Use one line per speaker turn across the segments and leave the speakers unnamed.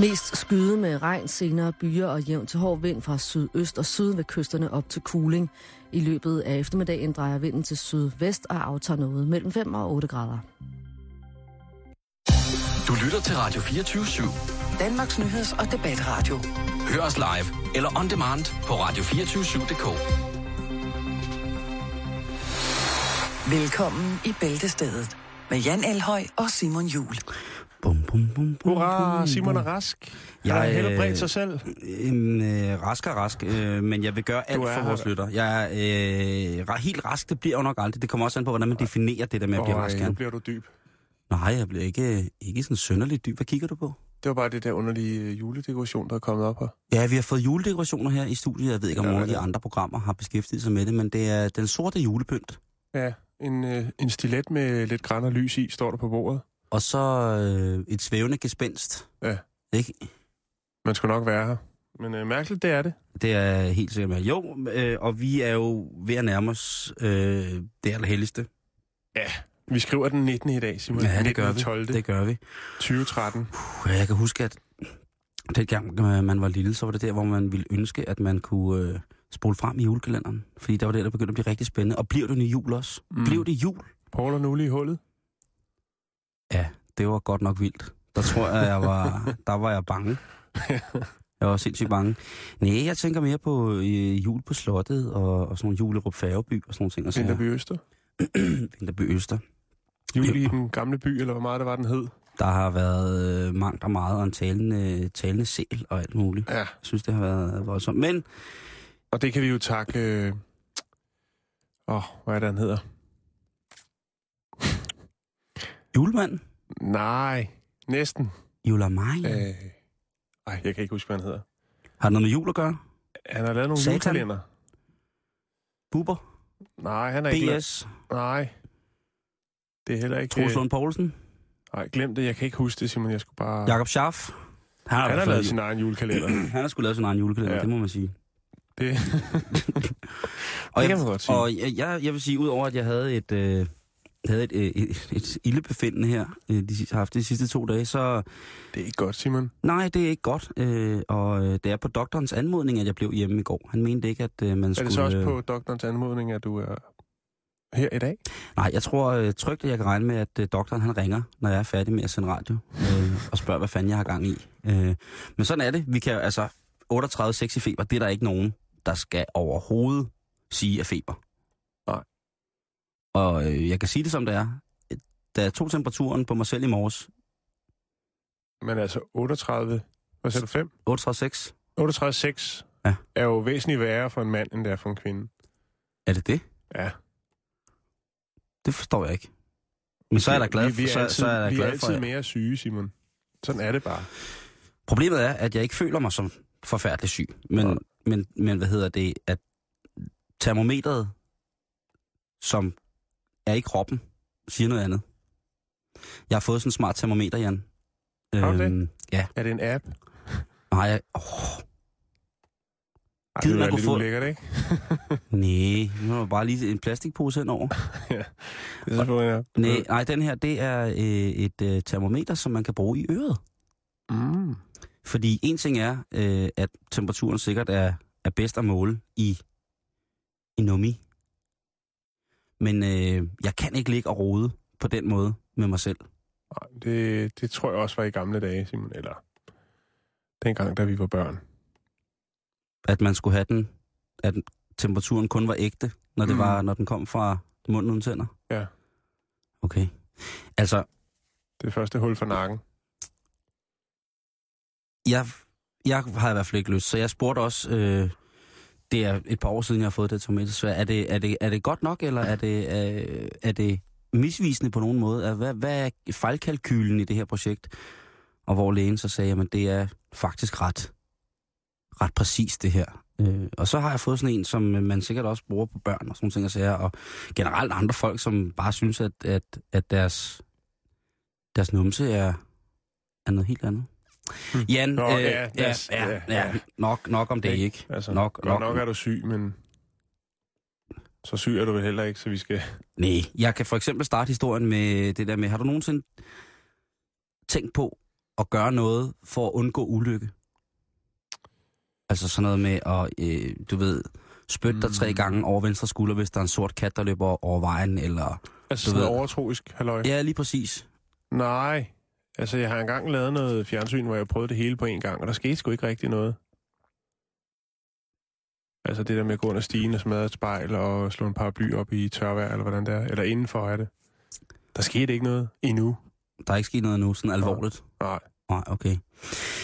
Mest skyde med regn, senere byer og jævn til hård vind fra sydøst og syd ved kysterne op til Kuling. I løbet af eftermiddagen drejer vinden til sydvest og aftager noget mellem 5 og 8 grader.
Du lytter til Radio 24-7.
Danmarks Nyheds- og Debatradio.
Hør os live eller on demand på radio247.dk.
Velkommen i Bæltestedet med Jan Elhøj og Simon Jul.
Bum, bum, bum, bum,
Hurra,
bum,
Simon er
bum.
rask. Jeg har
Jeg, øh,
helbredt sig selv.
Øhm, øh, rask og rask, øh, men jeg vil gøre alt
Du er
for
her.
vores lytter. Jeg er øh, ra- helt rask, det bliver jeg jo nok aldrig. Det kommer også an på, hvordan man definerer det der med at blive
Åh,
rask.
nu
Jan.
bliver du dyb.
Nej, jeg bliver ikke, øh, ikke sådan synderligt dyb. Hvad kigger du på?
Det var bare det der underlige øh, juledekoration, der er kommet op her.
Ja, vi har fået juledekorationer her i studiet. Jeg ved ikke, om
Ja,
nogle af de
ja.
andre programmer har beskæftiget sig med det, men det er den sorte julepynt.
Ja, en, øh, en stilet med lidt græn og lys i, står der på bordet.
Og så øh, et svævende gespenst.
Ja.
Ikke?
Man skulle nok være her. Men øh, mærkeligt, det er det.
Det er jeg helt sikkert med. Jo, øh, og vi er jo ved at nærme os øh, det allerhelligste.
Vi skriver den 19. i dag, Simon.
Ja, det gør
19.
vi.
12.
Det gør vi.
2013.
Puh, jeg kan huske, at dengang øh, man var lille, så var det der, hvor man ville ønske, at man kunne øh, spole frem i julekalenderen. Fordi der var det, der begyndte at blive rigtig spændende. Og bliver det nu jul også? Mm.
Mm.
Blev det jul?
Paul og Nulle i hullet.
Ja, det var godt nok vildt. Der tror jeg, jeg var, der var jeg bange. Jeg var sindssygt bange. Nej, jeg tænker mere på øh, jul på slottet og, og sådan nogle jul i Rup Færgeby og sådan nogle ting. Og så
Vinterby Øster.
Vinterby Øster.
Jul i den gamle by, eller hvor meget det var, den hed.
Der har været øh, mangt og meget og en talende, talende sel og alt muligt.
Ja.
Jeg synes, det har været voldsomt. Men
Og det kan vi jo takke... Åh, øh... oh, hvad er det, han hedder?
julemanden,
Nej, næsten.
julemanden, øh.
Øh... Ej, jeg kan ikke huske, hvad han hedder.
har det noget med jul at gøre?
Han har lavet nogle
Satan.
julekalender.
Buber,
Nej, han er ikke... lavet-
BS,
Nej. Det er heller ikke...
Troels Lund Poulsen,
Nej, glem det. Jeg kan ikke huske det, Simon. Jeg skulle bare...
Jakob Schaff. Han
han har
fået
lavet
jul.
sin egen julekalender.
Han har sgu lavet sin egen julekalender, ja.
Ja.
det må man sige.
Det,
Og
det kan
jeg,
man godt sige.
og jeg, jeg, jeg vil sige, udover at jeg havde et, øh, havde et, øh, et, et ildebefindende her, øh, de, sidste- har haft de sidste to dage, så
Det er ikke godt, Simon.
nej, det er ikke godt. Øh, og øh, det er på doktorens anmodning, at jeg blev hjemme i går. Han mente ikke, at øh, man
Er
skulle...
det så også
øh,
på doktorens anmodning, at du er her i dag?
Nej, jeg tror øh, trygt, at jeg kan regne med, at øh, doktoren han ringer, når jeg er færdig med at sende radio, øh, og spørger, hvad fanden jeg har gang i. Øh, men sådan er det. Vi kan jo, altså 38 6 i feber, det er der ikke nogen, der skal overhovedet sige af feber.
Nej.
Og øh, jeg kan sige det, som det er. Da jeg tog temperaturen på mig selv i morges,
Men altså 38... Hvad sagde du? 5?
38 6,
38,6
Ja.
ja. er jo væsentligt værre for en mand, end det er for en kvinde.
er det det?
Ja.
Det forstår jeg ikke. Men så er jeg da glad,
vi, vi er
så,
altid,
så er jeg da
vi
glad
er
for,
altid
at-
mere syge, Simon. Sådan er det bare.
Problemet er, at jeg ikke føler mig som forfærdelig syg. Men,
Nej.
men, men hvad hedder det? At termometret, som er i kroppen, siger noget andet. Jeg har fået sådan en smart termometer, Jan. Øhm,
Har du det?
Ja.
Er det en app? Ej,
Nej, jeg... Oh,
det
Gider
ville
man
være
kunne
lidt
få-
ulækkert, ikke?
nej. Nu har jeg bare lige en plastikpose henover.
Det er selvfølgelig en app.
Nej, nej, den her, det er øh, et øh, termometer, som man kan bruge i øret.
Mm.
Fordi en ting er, øh, at temperaturen sikkert er, er bedst at måle i, i nummi. Men øh, jeg kan ikke ligge og rode på den måde med mig selv.
Nej, det, det tror jeg også var i gamle dage, Simon. Eller dengang, da vi var børn.
At man skulle have den, at temperaturen kun var ægte, når, det
Mm.
var, når den kom fra munden uden tænder.
Ja.
Okay. Altså,
Det første hul for nakken.
jeg, jeg har i hvert fald ikke lyst, så jeg spurgte også, øh, det er et par år siden, jeg har fået det tomatesvær, er det, er det, er det godt nok, eller er det, øh, er det misvisende på nogen måde? Er- Hvad, hvad er fejlkalkylen i det her projekt? Og hvor lægen så sagde, at det er faktisk ret, ret præcist det her. Øh, og så har jeg fået sådan en, som øh, man sikkert også bruger på børn og sådan nogle ting og sager, og generelt andre folk, som bare synes, at, at, at deres, deres numse er, er noget helt andet. Jan,
Hmm. Nå,
øh,
ja,
ja,
yes,
ja,
ja,
ja,
ja.
nok, nok om det ikke.
Altså,
Nok-
nok, godt
nok-
nok. er du syg, men så syg er du vel heller ikke, så vi skal...
Nej, jeg kan for eksempel starte historien med det der med, har du nogensinde tænkt på, at gøre noget for at undgå ulykke? Altså sådan noget med at, øh, du ved, spytte dig tre gange over venstre skulder, hvis der er en sort kat, der løber over vejen, eller...
Altså
Du
sådan
ved-
noget overtroisk, halløj.
Ja, lige præcis.
Nej. Altså, jeg har engang lavet noget fjernsyn, hvor jeg prøvede det hele på en gang, og der skete sgu ikke rigtig noget. Altså det der med at gå under stigen og smadre et spejl og slå en paraply op i tørvejr, eller hvordan det er, eller indenfor er det. Der skete ikke noget endnu.
Der er ikke sket noget nu, sådan alvorligt.
Nej.
Nej, okay.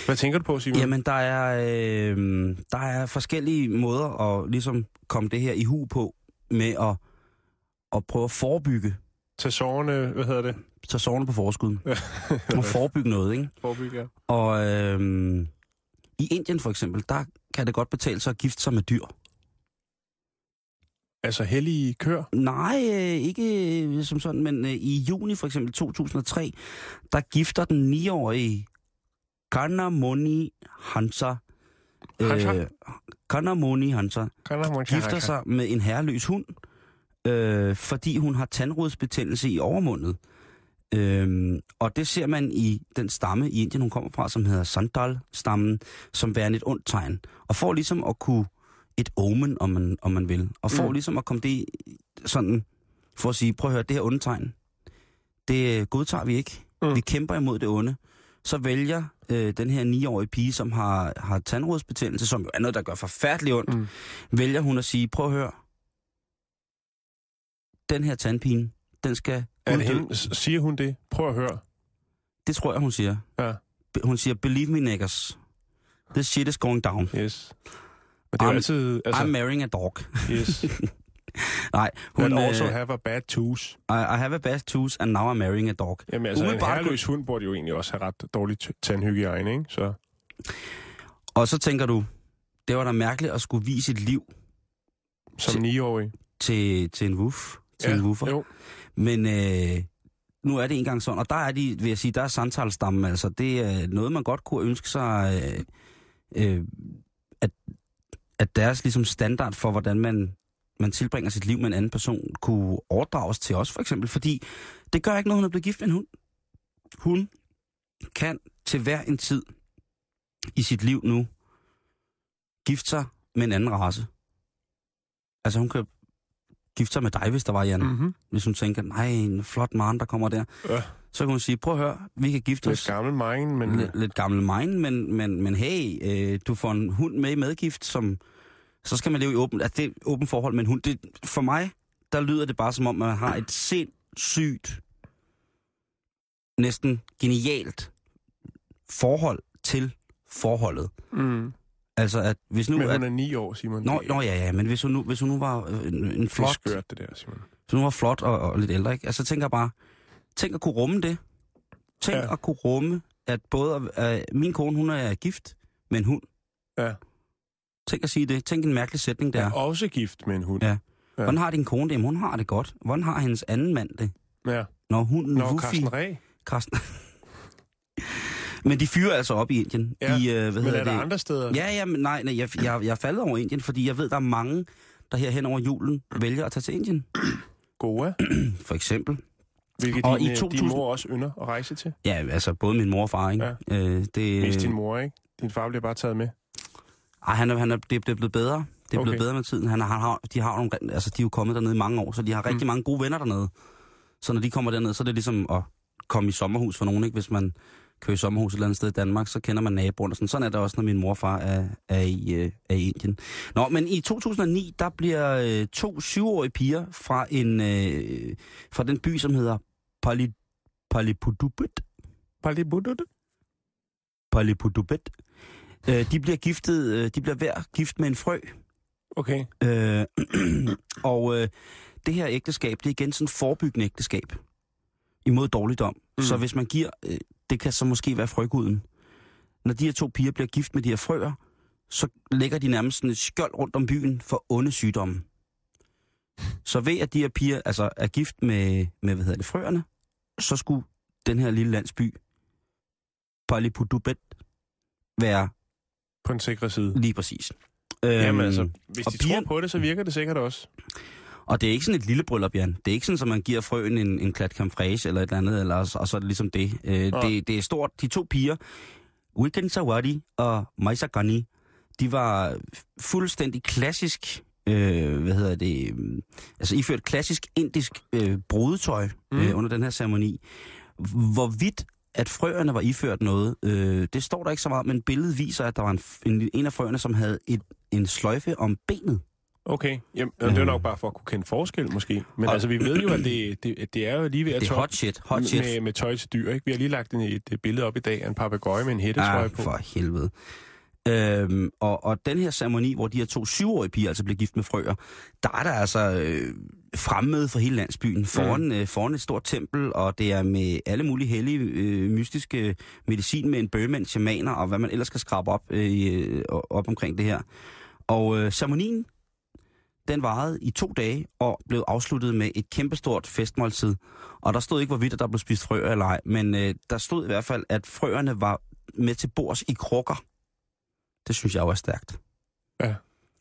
Hvad tænker du på, Simon?
Jamen, der er, øh, der er forskellige måder at ligesom komme det her i hu på, med at, at prøve at forebygge,
Tag sårene, hvad hedder det?
så sovende på forskud, og forebygge noget, ikke?
Forebygge, ja.
Og øh, i Indien for eksempel, der kan det godt betale sig at gifte sig med dyr.
Altså hellige kør.
Nej, øh, ikke øh, som sådan, men øh, i juni for eksempel 2003, der gifter den 9-årige Kanamoni Hansa. øh,
Hansa?
Kanamoni Hansa
Kan der, man kan-
gifter sig med en herreløs hund, øh, fordi hun har tandrodsbetændelse i overmundet. Øhm, og det ser man i den stamme i Indien, hun kommer fra, som hedder Sandal-stammen, som værende et ondt tegn. Og får ligesom at kunne et omen, om man, om man vil. Og får
Mm.
ligesom at komme det i- sådan, for at sige, prøv at høre, det her onde tegn, det øh, godtager vi ikke.
Mm.
Mm. Vi kæmper imod det onde. Så vælger øh, den her 9-årige pige, som har, har tandrådsbetændelse, som jo er noget, der gør forfærdeligt ondt,
Mm.
mm. vælger hun at sige, prøv at høre, den her tandpine, den skal
Er det
uddø."
hende? S- Siger hun det? Prøv at høre.
Det tror jeg, hun siger.
Ja.
Be- Hun siger, believe me, niggers. This shit is going down.
Yes. Men det er jo
I'm-
altid...
Altså, I'm
Altså,
marrying a dog.
yes.
Nej, hun,
Hun also
øh,
have a bad tooth.
I, I have a bad tooth, and now I'm marrying a dog.
Jamen altså,
Umiddelbart
en herreløs hund burde jo egentlig også have ret dårlig t- tandhygiejne, ikke? Så
Og så tænker du, det var da mærkeligt at skulle vise sit liv
som niårig.
til, til en woof. Til en woofer.
jo.
Men øh, nu er det engang sådan, og der er de, vil jeg sige, der er samtalstammen, altså det er noget, man godt kunne ønske sig, øh, øh, at, at deres ligesom standard for, hvordan man, man tilbringer sit liv med en anden person, kunne overdrages til os for eksempel, fordi det gør ikke noget, hun er blevet gift med en hund. Hun kan til hver en tid i sit liv nu gifte sig med en anden race. Altså hun kan gifte sig med dig, hvis der var, Jan
Mm-hmm.
hvis hun tænker, nej, en flot mand, der kommer der,
Ja.
så kan hun sige, prøv at høre, vi kan
Det
gifte
er
os.
et gammelt mind, men
Lidt, lidt gammel mind, men, men, men hey, øh, du får en hund med i medgift, som, så skal man leve i åben, altså det er åben forhold med en hund. Det, for mig, der lyder det bare som om, man har et sindssygt, næsten genialt forhold til forholdet.
mm.
Altså at hvis nu...
men
at,
hun er ni år, Simon.
nå,
Det er-
nå ja, ja, men hvis hun nu, hvis hun nu var øh, en, en
Det er
flot...
skørt, det der, Simon.
Så nu var flot og, og lidt ældre, ikke? Altså, tænker jeg bare, tænk at kunne rumme det. Tænk
Ja.
ja. at kunne rumme, at både, øh, min kone, hun er gift med en hund.
Ja.
Tænk at sige det. Tænk en mærkelig sætning der.
Ja.
Ja,
Er også gift med en hund.
Ja.
Ja.
Hvordan har din kone det? Jamen, hun har det godt. Hvordan har hendes anden mand det?
ja.
Når hunden
Nå,
Wuffy-
Carsten Ræ.
Karsten. Men de fyrer altså op i Indien.
Ja,
I, øh, hvad
Men
hedder
er der
det?
andre steder?
Ja, ja, men nej, nej jeg, jeg, jeg er faldet over Indien, fordi jeg ved, der er mange, der her hen over julen vælger at tage til Indien.
Gode,
For eksempel.
hvilket
Og
din,
i
øh,
2000
din mor også ynder at rejse til.
Ja, altså både min mor og far, ikke? Ja. Øh, det,
Mest din mor, ikke? Din far bliver bare taget med.
Ej, han er, han er, det, er- det er blevet bedre. Det er okay.
Okay.
blevet bedre med tiden. Han, har- han har, de, har nogle, altså, de er jo kommet dernede i mange år, så de har rigtig mm. mange gode venner dernede. Så når de kommer derned, så er det ligesom at komme i sommerhus for nogen. Ikke? Hvis man kører i sommerhus et eller andet sted i Danmark, så kender man naboerne. og Sådan, sådan er det også, når min morfar er, er, i, øh, er i Indien. Nå, men i 2009, der bliver øh, to syvårige piger fra, en, øh, fra den by, som hedder Pali, Palipudubit.
Bare lige buttet.
Palipudubit. Øh, de bliver giftet, øh, de bliver hver gift med en frø.
Okay.
Øh, og øh, det her ægteskab, det er igen sådan et forebyggende ægteskab imod dårligdom.
Mm.
Mm. Så hvis man giver, øh, det kan så måske være frøguden. Når de her to piger bliver gift med de her frøer, så lægger de nærmest sådan et skjold rundt om byen for onde sygdomme. Så ved at de her piger altså, er gift med, med hvad hedder det, frøerne, så skulle den her lille landsby, Palipudubet, være
På den sikre side.
lige præcis.
Jamen
Øhm,
altså, hvis
og
de
piger-
tror på det, så virker det sikkert også.
Og det er ikke sådan et lille bryllup, Jan. Det er ikke sådan, at man giver frøen en, en klat camfrage eller et eller andet, eller, og så er det ligesom det. Øh, det. Det er stort. De to piger, Weekend Sawadi og Maisa Ghani, de var fuldstændig klassisk, øh, hvad hedder det, øh, altså iført klassisk indisk øh, brudetøj mm. øh, under den her ceremoni. Hvorvidt at frøerne var iført noget, øh, det står der ikke så meget, men billedet viser, at der var en, en, en af frøerne, som havde et, en sløjfe om benet.
Okay, Jamen, øh.
Øhm.
det er nok bare for at kunne kende forskel måske. Men og, altså, vi ved jo, at det, det, at det er jo lige ved at
Det er hot shit, hot shit.
med, med tøj til dyr. Ikke? Vi har lige lagt en, et øh, billede op i dag af en papegøje med en hættetrøje
Ah,
på.
for helvede. Øhm, og, og den her ceremoni, hvor de her to syvårige piger altså blev gift med frøer, der er der altså øh, fremmede for hele landsbyen, foran, øh, foran et stort tempel, og det er med alle mulige hellige, øh, mystiske medicin med en bøgemand, shamaner og hvad man ellers skal skrabe op, øh, i, øh, op omkring det her. Og øh, ceremonien, den varede i to dage og blev afsluttet med et kæmpestort festmåltid. Og der stod ikke, hvorvidt at der blev spist frøer eller ej, men øh, der stod i hvert fald, at frøerne var med til bords i krukker. Det synes jeg jo er stærkt.
Ja.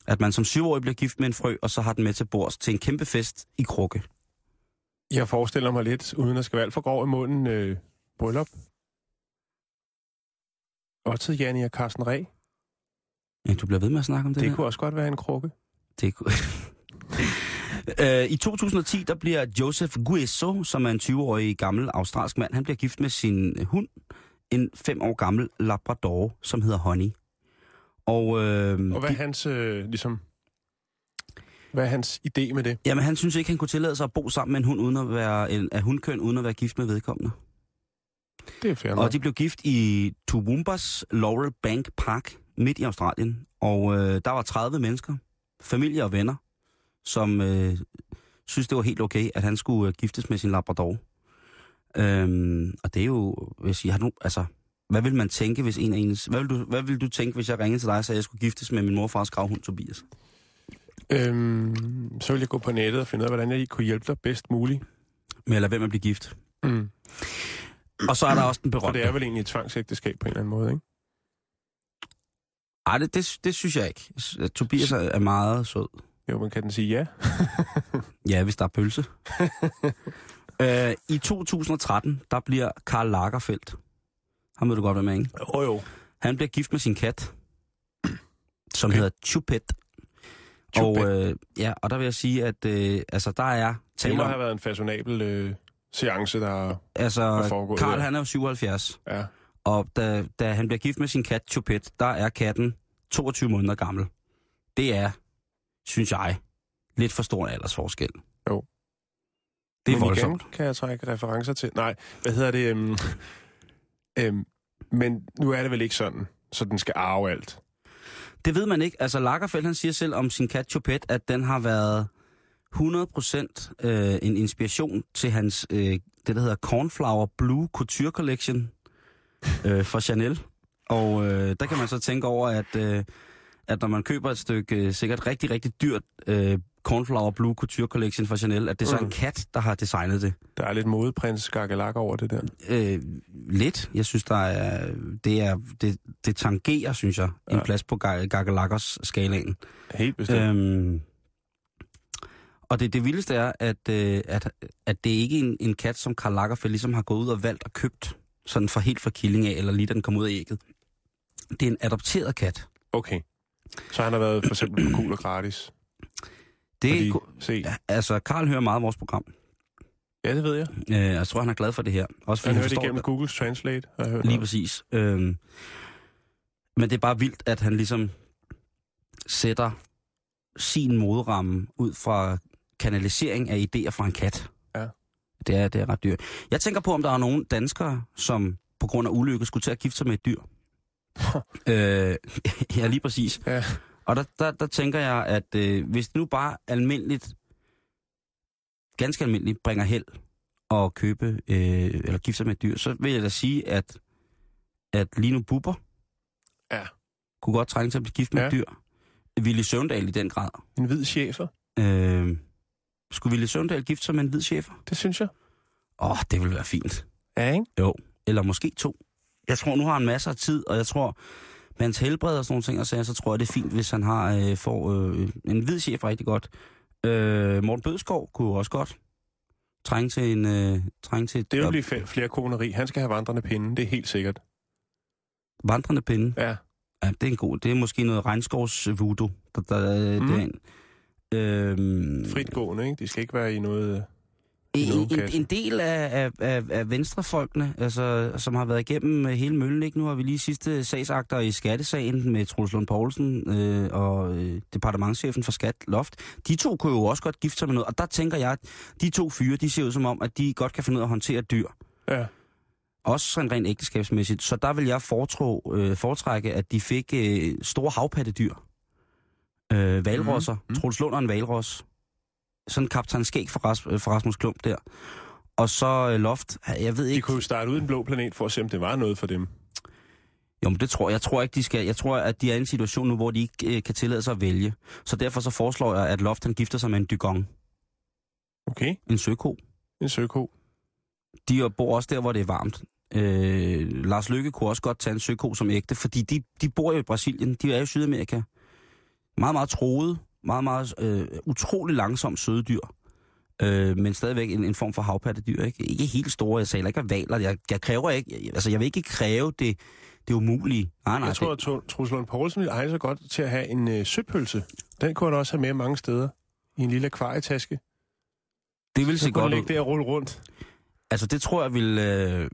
At man som syvårig bliver gift med en frø, og så har den med til bords til en kæmpe fest i krukke.
Jeg forestiller mig lidt, uden at skal være alt for grov i munden, øh, bryllup. Otted, Janni og Carsten Reh.
Ja, du bliver ved med at snakke om det,
Det
her.
kunne også godt være en krukke.
Det kunne... Øh, I 2010, der bliver Joseph Guesso, som er en 20-årig gammel australsk mand, han bliver gift med sin øh, hund, en 5 år gammel labrador, som hedder Honey. Og, øh,
Og hvad er hans, øh, ligesom, hvad er hans idé med det?
Jamen, han synes ikke, han kunne tillade sig at bo sammen med en hund uden at være en, af hundkøn, uden at være gift med vedkommende.
Det er fair nok.
Og de blev gift i Toowoomba's Laurel Bank Park, midt i Australien. Og øh, der var 30 mennesker, familie og venner, som øh, synes, det var helt okay, at han skulle øh, giftes med sin labrador. Øhm, og det er jo, vil jeg sige, har du, altså, hvad vil man tænke, hvis en af ens... Hvad vil, du, hvad vil du tænke, hvis jeg ringede til dig og sagde, at jeg skulle giftes med min morfars gravhund Tobias?
Øhm, så vil jeg gå på nettet og finde ud af, hvordan jeg kunne hjælpe dig bedst muligt.
Med at lade være med at blive gift.
Mm.
Og så er der også den
For
berømte.
det er vel egentlig et tvangsægteskab på en eller anden måde, ikke?
Ej, det, det, det synes jeg ikke. S- Tobias er er meget sød.
Jo, man kan den sige ja.
Ja, hvis der er pølse. øh, I 2013, der bliver Karl Lagerfeldt. Han ved du godt, hvad med, ikke?
Jo, jo.
Han bliver gift med sin kat, som
Okay.
okay. hedder Chupet. Og,
Chupet.
øh, ja, og der vil jeg sige, at øh, altså, der er
Det
tale
må have
om...
været en fashionabel øh, seance, der...
Altså,
have foregået,
Karl
ja.
han er jo 77,
Ja.
og da, da han bliver gift med sin kat Chupet, der er katten 22 måneder gammel. Det er, synes jeg, lidt for stor en aldersforskel.
Jo.
Det er
Men
voldsomt.
Igen, kan jeg trække referencer til? Nej, hvad hedder det? Øhm, øhm, men nu er det vel ikke sådan, så den skal arve alt.
Det ved man ikke. Altså Lagerfeldt han siger selv om sin kat Chopet, at den har været 100% øh, en inspiration til hans, øh, det der hedder Cornflower Blue Couture Collection øh, fra Chanel. Og øh, der kan man så tænke over, at, øh, at når man køber et stykke øh, sikkert rigtig, rigtig dyrt øh, Cornflower Blue Couture Collection fra Chanel, at det er så
Mm.
en kat, der har designet det.
Der er lidt modeprins skakkelak over det der.
Øh, lidt. Jeg synes, der er, det, er, det, det tangerer, synes jeg, ja. en
Ja.
plads på Gagalakkers skalaen.
Helt bestemt. Øh.
Øhm, og det, det vildeste er, at, øh, at, at det ikke er en, en kat, som Karl Lagerfeldt ligesom har gået ud og valgt og købt, sådan for helt fra killing af, eller lige da den kom ud af ægget. Det er en adopteret kat.
Okay. Så han har været for eksempel på cool og gratis.
Det
fordi,
Fordi...
se, ja.
Altså, Karl hører meget af vores program.
ja, det ved jeg.
Øh, jeg tror, han er glad for det her. Også fordi
Han
han,
hørte det
forstår
igennem Googles Translate. Har jeg hørt
Lige
om.
præcis. Øhm, men det er bare vildt, at han ligesom sætter sin modramme ud fra kanalisering af idéer fra en kat.
Ja.
Det er, det er ret dyrt. Jeg tænker på, om der er nogen danskere, som på grund af ulykke skulle til at gifte sig med et dyr. øh, ja, lige præcis.
Ja.
Og der, der, der tænker jeg, at øh, hvis det nu bare almindeligt, ganske almindeligt, bringer held at købe øh, eller gifte sig med et dyr, så vil jeg da sige, at, at Lino Bubber
Ja.
kunne godt trænge til at blive gift med
Ja.
ja. et dyr. Ville Søvndal i den grad.
En hvid chefer,
Øh, skulle Ville Søvndal gifte sig med en hvid chefer?
det synes jeg.
Åh, oh, det ville være fint.
Ja, ikke?
Jo. Eller måske to. Jeg tror, nu har han masser af tid, og jeg tror, med hans helbred og sådan nogle ting, og så, så tror jeg, det er fint, hvis han har øh, får øh, en hvid chef rigtig godt, Øh, Morten Bødskov kunne jo også godt trænge til en... Øh, trænge til et,
Det vil
øh,
blive fe- flere koneri. Han skal have vandrende pinde, det er helt sikkert.
Vandrende pinde.
Ja.
Ja, det er en god... Det er måske noget regnskovsvudo, der, der
Mm.
mm. derhen. Øhm,
Fritgående, ikke? De skal ikke være i noget... øh,
en,
nogen
en,
kasse.
en del af, af, af, af venstrefolkene, altså, som har været igennem øh, hele møllen, ikke? nu har vi lige sidste sagsakter i skattesagen med Truls Lund Poulsen øh, og øh, departementchefen for Skat Loft. De to kunne jo også godt gifte sig med noget, og der tænker jeg, at de to fyre, de ser ud som om, at de godt kan finde ud af at håndtere dyr.
Ja.
Også sådan rent ægteskabsmæssigt. Så der vil jeg foretro, øh, foretrække, at de fik øh, store havpattedyr. Øh, valrosser. Mm.
Mhm.
Troels Lund og en valros. Sådan kaptajn Skæg for, Ras, øh, for Rasmus Klump der. Og så øh, Loft. Jeg ved
De
ikke...
kunne jo starte ud i den blå planet for at se, om det var noget for dem.
Jo, men det tror jeg. Jeg tror ikke, de skal. Jeg tror, at de er i en situation nu, hvor de ikke øh, kan tillade sig at vælge. Så derfor så foreslår jeg, at Loft han gifter sig med en dygong.
Okay,
En søko.
en søko.
de bor også der, hvor det er varmt. Øh, Lars Lykke kunne også godt tage en søko som ægte, fordi de, de bor jo i Brasilien, de er i Sydamerika. Meget, meget troede, meget, meget øh, utrolig langsomt søde dyr. Øh, men stadigvæk en, en form for havpattedyr, ikke? Ikke helt store, jeg sagde heller ikke hvad valer. Jeg, jeg kræver ikke, jeg, altså jeg vil ikke kræve det, det umulige. Nej, nej,
Jeg tror, at Tro- Troels Lund Poulsen ville egne sig godt til at have en øh, søpølse. Den kunne han også have med mange steder. I en lille akvarietaske.
det, det vil se
Så kunne han
godt
ligge
ud.
der og rulle rundt.
Altså det tror jeg vil... Øh,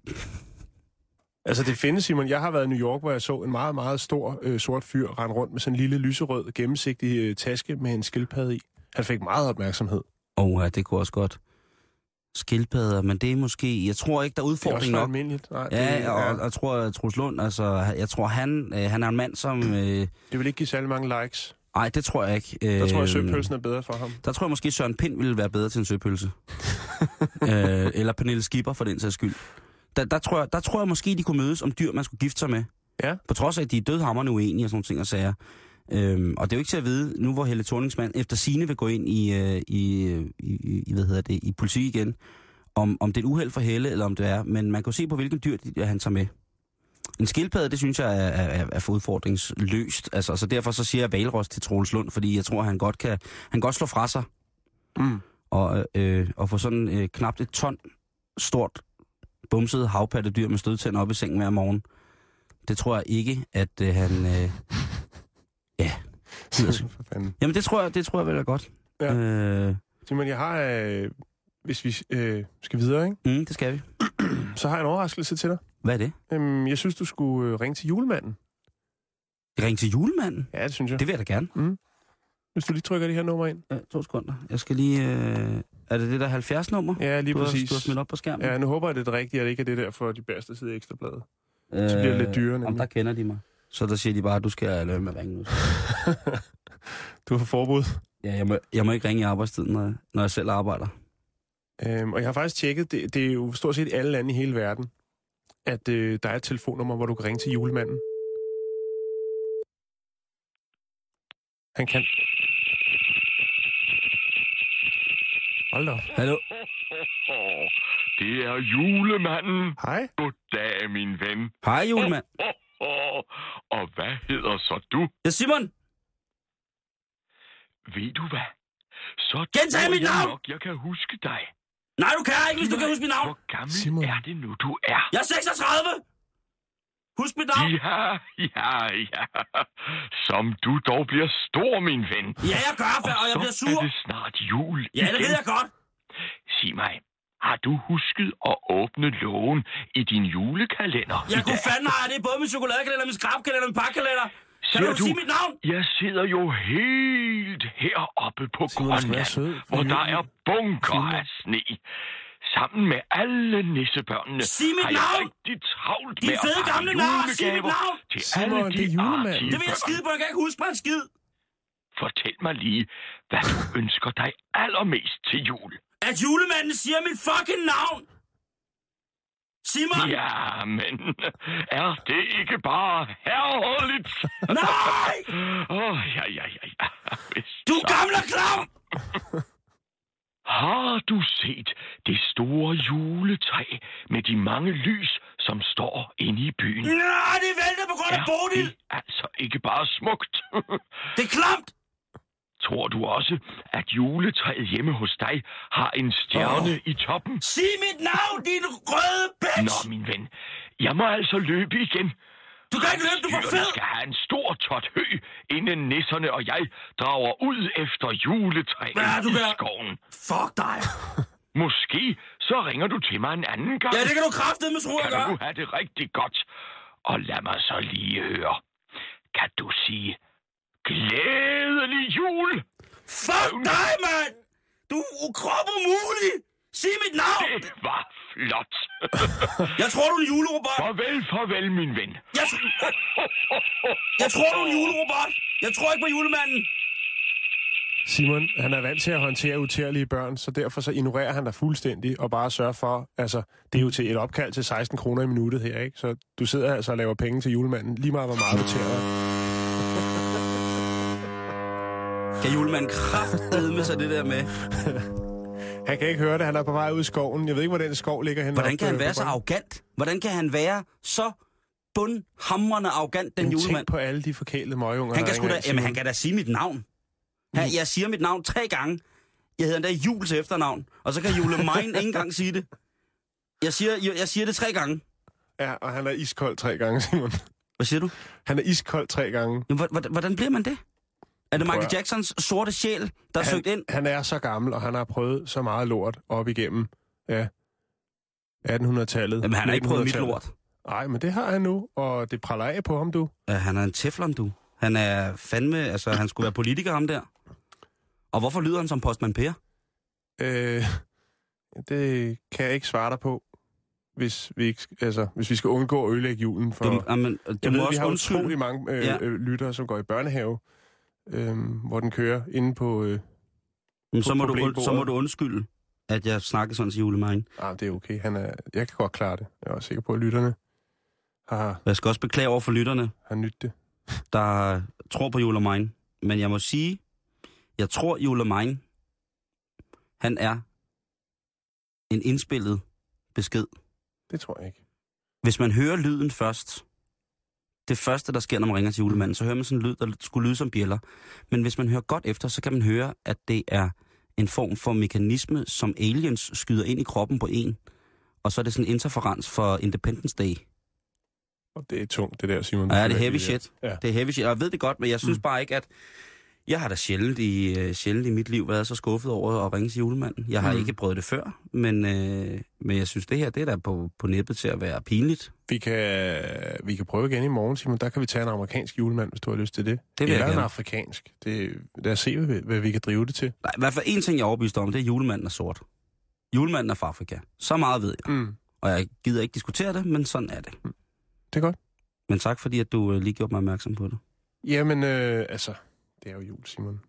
Altså det findes, Simon. Jeg har været i New York, hvor jeg så en meget, meget stor øh, sort fyr rende rundt med sådan en lille lyserød, gennemsigtig øh, taske med en skildpadde i. Han fik meget opmærksomhed.
åh, ja, det kunne også godt. Skildpadder, men det er måske... Jeg tror ikke, der er
Det er også
udfordring
for
nok.
almindeligt. Nej, det,
Ja, og,
ja,
og jeg tror, at Truls Lund, altså, jeg tror, han, øh, han er en mand, som... Øh,
det vil ikke give særlig mange likes.
ej, det tror jeg ikke. Øh,
Der tror jeg, søpølsen er bedre for ham.
Der tror jeg måske, Søren Pind ville være bedre til en søpølse. øh, eller Pernille Skipper, for den sags skyld. Der, der, tror jeg, der tror jeg måske, de kunne mødes om dyr, man skulle gifte sig med.
Ja.
På trods af, at de er dødhammerne uenige og sådan nogle ting og sager. Øhm, og det er jo ikke til at vide, nu hvor Helle Thorningsmand efter sine vil gå ind i, øh, i, øh, i, i, hvad hedder det, i politik igen, om, om det er et uheld for Helle, eller om det er, men man kan jo se på, hvilken dyr de, han tager med. En skildpadde, det synes jeg er, er, er- er for udfordringsløst, altså, så derfor så siger jeg valros til Troels Lund, fordi jeg tror, han godt kan, han kan godt slå fra sig,
Mm.
og, øh, og få sådan øh, knapt et ton stort bumset havpattedyr med stødtænder op i sengen hver morgen. Det tror jeg ikke, at øh, han... Øh...
for fanden.
Jamen det tror jeg, det tror jeg vel er godt.
Ja.
Øh,
Simon, jeg har... Øh, hvis vi øh, skal videre, ikke?
mm, det skal vi.
så har jeg en overraskelse til dig.
Hvad er det?
Øhm, jeg synes, du skulle øh, ringe til julemanden.
Ring til julemanden?
Ja, det synes jeg. Mm.
Det vil jeg da gerne.
Hvis du lige trykker det her nummer ind.
Ja, to sekunder. Jeg skal lige... Øh... Er det det der 70-nummer?
Ja, lige
du har,
præcis.
du har smidt op på skærmen?
Ja, nu håber jeg, det er det rigtige, at det ikke er det der for de bedste side i Ekstrabladet. Så bliver det lidt dyrere,
Øh, Jamen,
nemlig.
der kender de mig. Så der siger de bare, at du skal lade være med at ringe nu.
du har forbud.
Ja, jeg må, jeg må ikke ringe i arbejdstiden, når jeg, når jeg selv arbejder.
Øhm, og jeg har faktisk tjekket, det, det er jo stort set alle lande i hele verden, at øh, der er et telefonnummer, hvor du kan ringe til julemanden. Han kan... Hold da. op.
Hallo?
Det er julemanden.
Hej.
Goddag, min ven.
Hej, julemand.
Og hvad hedder så du?
Ja, Simon!
Ved du hvad? Så
Gentag
tror
mit
jeg
navn!
Nok, jeg kan huske dig.
Nej, du kan ikke, hvis du kan huske mit navn.
Hvor gammel
Simon.
er det nu, du er?
Jeg er 36! Husk mit navn!
Ja, ja, ja. Som du dog bliver stor, min ven.
Ja, jeg gør, fa- og jeg
så
bliver
er
sur.
det snart jul
Ja, det
igen.
ved jeg godt.
Sig mig, har du husket at åbne lågen i din julekalender
Jeg
i dag?
kunne fandme have det, både min chokoladekalender, min skrabkalender, min pakkalender. Kan
Siger
du, sige mit navn?
Jeg sidder jo helt heroppe på
Simon, du skal være
Grønland,
sød for
hvor der
julen.
er bunker af sne. Sammen med alle nissebørnene
Sig mit
har jeg
navn!
rigtig travlt
Din
med at
fede
pakke
gamle nar! Sig mit
julegaver
navn!
til
Simon,
alle
det
de
er julemanden.
artige
Det vil jeg
børn.
skide på, jeg kan ikke huske mig en skid.
Fortæl mig lige, hvad du ønsker dig allermest til jul.
At julemanden siger mit fucking navn. Simon!
Ja, men er det ikke bare herreligt?
Nej!
Åh, oh, ja, ja, ja, ja. Hvis
Du
så-
gamle klam!
Har du set det store juletræ med de mange lys, som står inde i byen?
Nej, det vælter på grund af Bodil.
det altså ikke bare smukt?
Det er klamt.
Tror du også, at juletræet hjemme hos dig har en stjerne oh. i toppen?
Sig mit navn, din røde bitch!
Nå, min ven. Jeg må altså løbe igen.
Du kan ikke løbe, du er for
Dyrene
fed!
skal have en stor tot hø, inden nisserne og jeg drager ud efter juletræet
Hvad er du
i
der?
skoven.
Fuck dig!
Måske så ringer du til mig en anden gang.
Ja, det kan du kraftedeme tro, jeg gør!
kan du have det rigtig godt. Og lad mig så lige høre. Kan du sige glædelig jul?
Fuck dig, mand! Du er krop umulig! Sig mit navn!
Det var flot.
Jeg tror, du er en julerobot!
farvel, farvel, min ven.
Jeg, tr- jeg tror, du er en julerobot! Jeg tror ikke på julemanden!
Simon, han er vant til at håndtere utærlige børn, så derfor så ignorerer han dig fuldstændig og bare sørger for, altså, det er jo til et opkald til 16 kroner i minuttet her, ikke? Så du sidder altså og laver penge til julemanden, lige meget hvor meget du tærer.
Kan julemanden kraftedme sig det der med?
Han kan ikke høre det, han er på vej ud i skoven. Jeg ved ikke, hvor den skov ligger henne.
Hvordan
op,
kan han
øh,
være
på
så
Bornholm.
arrogant? Hvordan kan han være så bundhamrende arrogant, den
Jamen,
julemand?
Tænk på alle de forkælede møgunger,
Han
der
kan, sgu
ringer
da,
ind, Mm.
jamen,
Simon.
han kan da sige mit navn. Han, jeg siger mit navn tre gange. Jeg hedder endda Jul til efternavn. Og så kan Jule Mein ikke engang sige det. Jeg siger, jeg, jeg siger det tre gange.
Ja, og han er iskold tre gange, Simon.
Hvad siger du?
Han er iskold tre gange.
Jamen, hvor- hvor- hvordan bliver man det? Er det Michael
at-
Jacksons sorte sjæl, der er søgt ind?
han er så gammel, og han har prøvet så meget lort op igennem ja, 1800-tallet.
Jamen, han har ikke prøvet mit
1900-tallet.
lort.
Nej, men det har han nu, og det praller af på ham, du.
Ja, han er en teflon, du. Han er fandme... Altså, han skulle være politiker, ham der. Og hvorfor lyder han som postmand Per?
Øh, det kan jeg ikke svare dig på, hvis vi, ikke, altså, hvis vi skal undgå at ødelægge julen. For,
Du, jamen, du
jeg
må
ved, vi
også
har
undskylde.
utrolig mange øh,
Ja.
ja. øh, lyttere, som går i børnehave, øh, hvor den kører inde på... Øh,
Jamen, så,
på
må du,
problembordet.
så må du undskylde, at jeg snakker sådan til julemarken.
ah, det er okay, han er, jeg kan godt klare det. Jeg er også sikker på, at lytterne har,
Jeg skal også beklage over for lytterne,
har nydt det.
der tror på julemarken. Men jeg må sige, jeg tror julemarken, han er en indspillet besked.
Det tror jeg ikke.
Hvis man hører lyden først, det første, der sker, når man ringer til julemanden, så hører man sådan en lyd, der skulle lyde som bjæller. Men hvis man hører godt efter, så kan man høre, at det er en form for mekanisme, som aliens skyder ind i kroppen på en. Og så er det sådan en interferens for Independence Day.
Og det er tungt, det der, Simon.
Ja, det er heavy shit.
Ja.
Det er heavy shit. Og jeg ved det godt, men jeg synes mm. bare ikke, at... Jeg har da sjældent i, øh, sjældent i mit liv været så skuffet over at ringe til julemanden. Jeg har mm. ikke prøvet det før, men, øh, men jeg synes, det her det er da på, på nippet til at være pinligt.
Vi kan, vi kan prøve igen i morgen, Simon. Der kan vi tage en amerikansk julemand, hvis du har lyst til det.
vil jeg
Eller en
gerne.
afrikansk. Det, lad os se, hvad, vi- hvad vi kan drive det til.
Nej, i hvert fald en ting, jeg er overbevist om, det er, at julemanden er sort. Julemanden er fra Afrika. Så meget ved jeg.
Mm.
Og jeg gider ikke diskutere det, men sådan er det.
Det er godt.
Men tak fordi, at du øh, lige gjorde mig opmærksom på det.
Jamen, øh, altså, det er jo jul, Simon.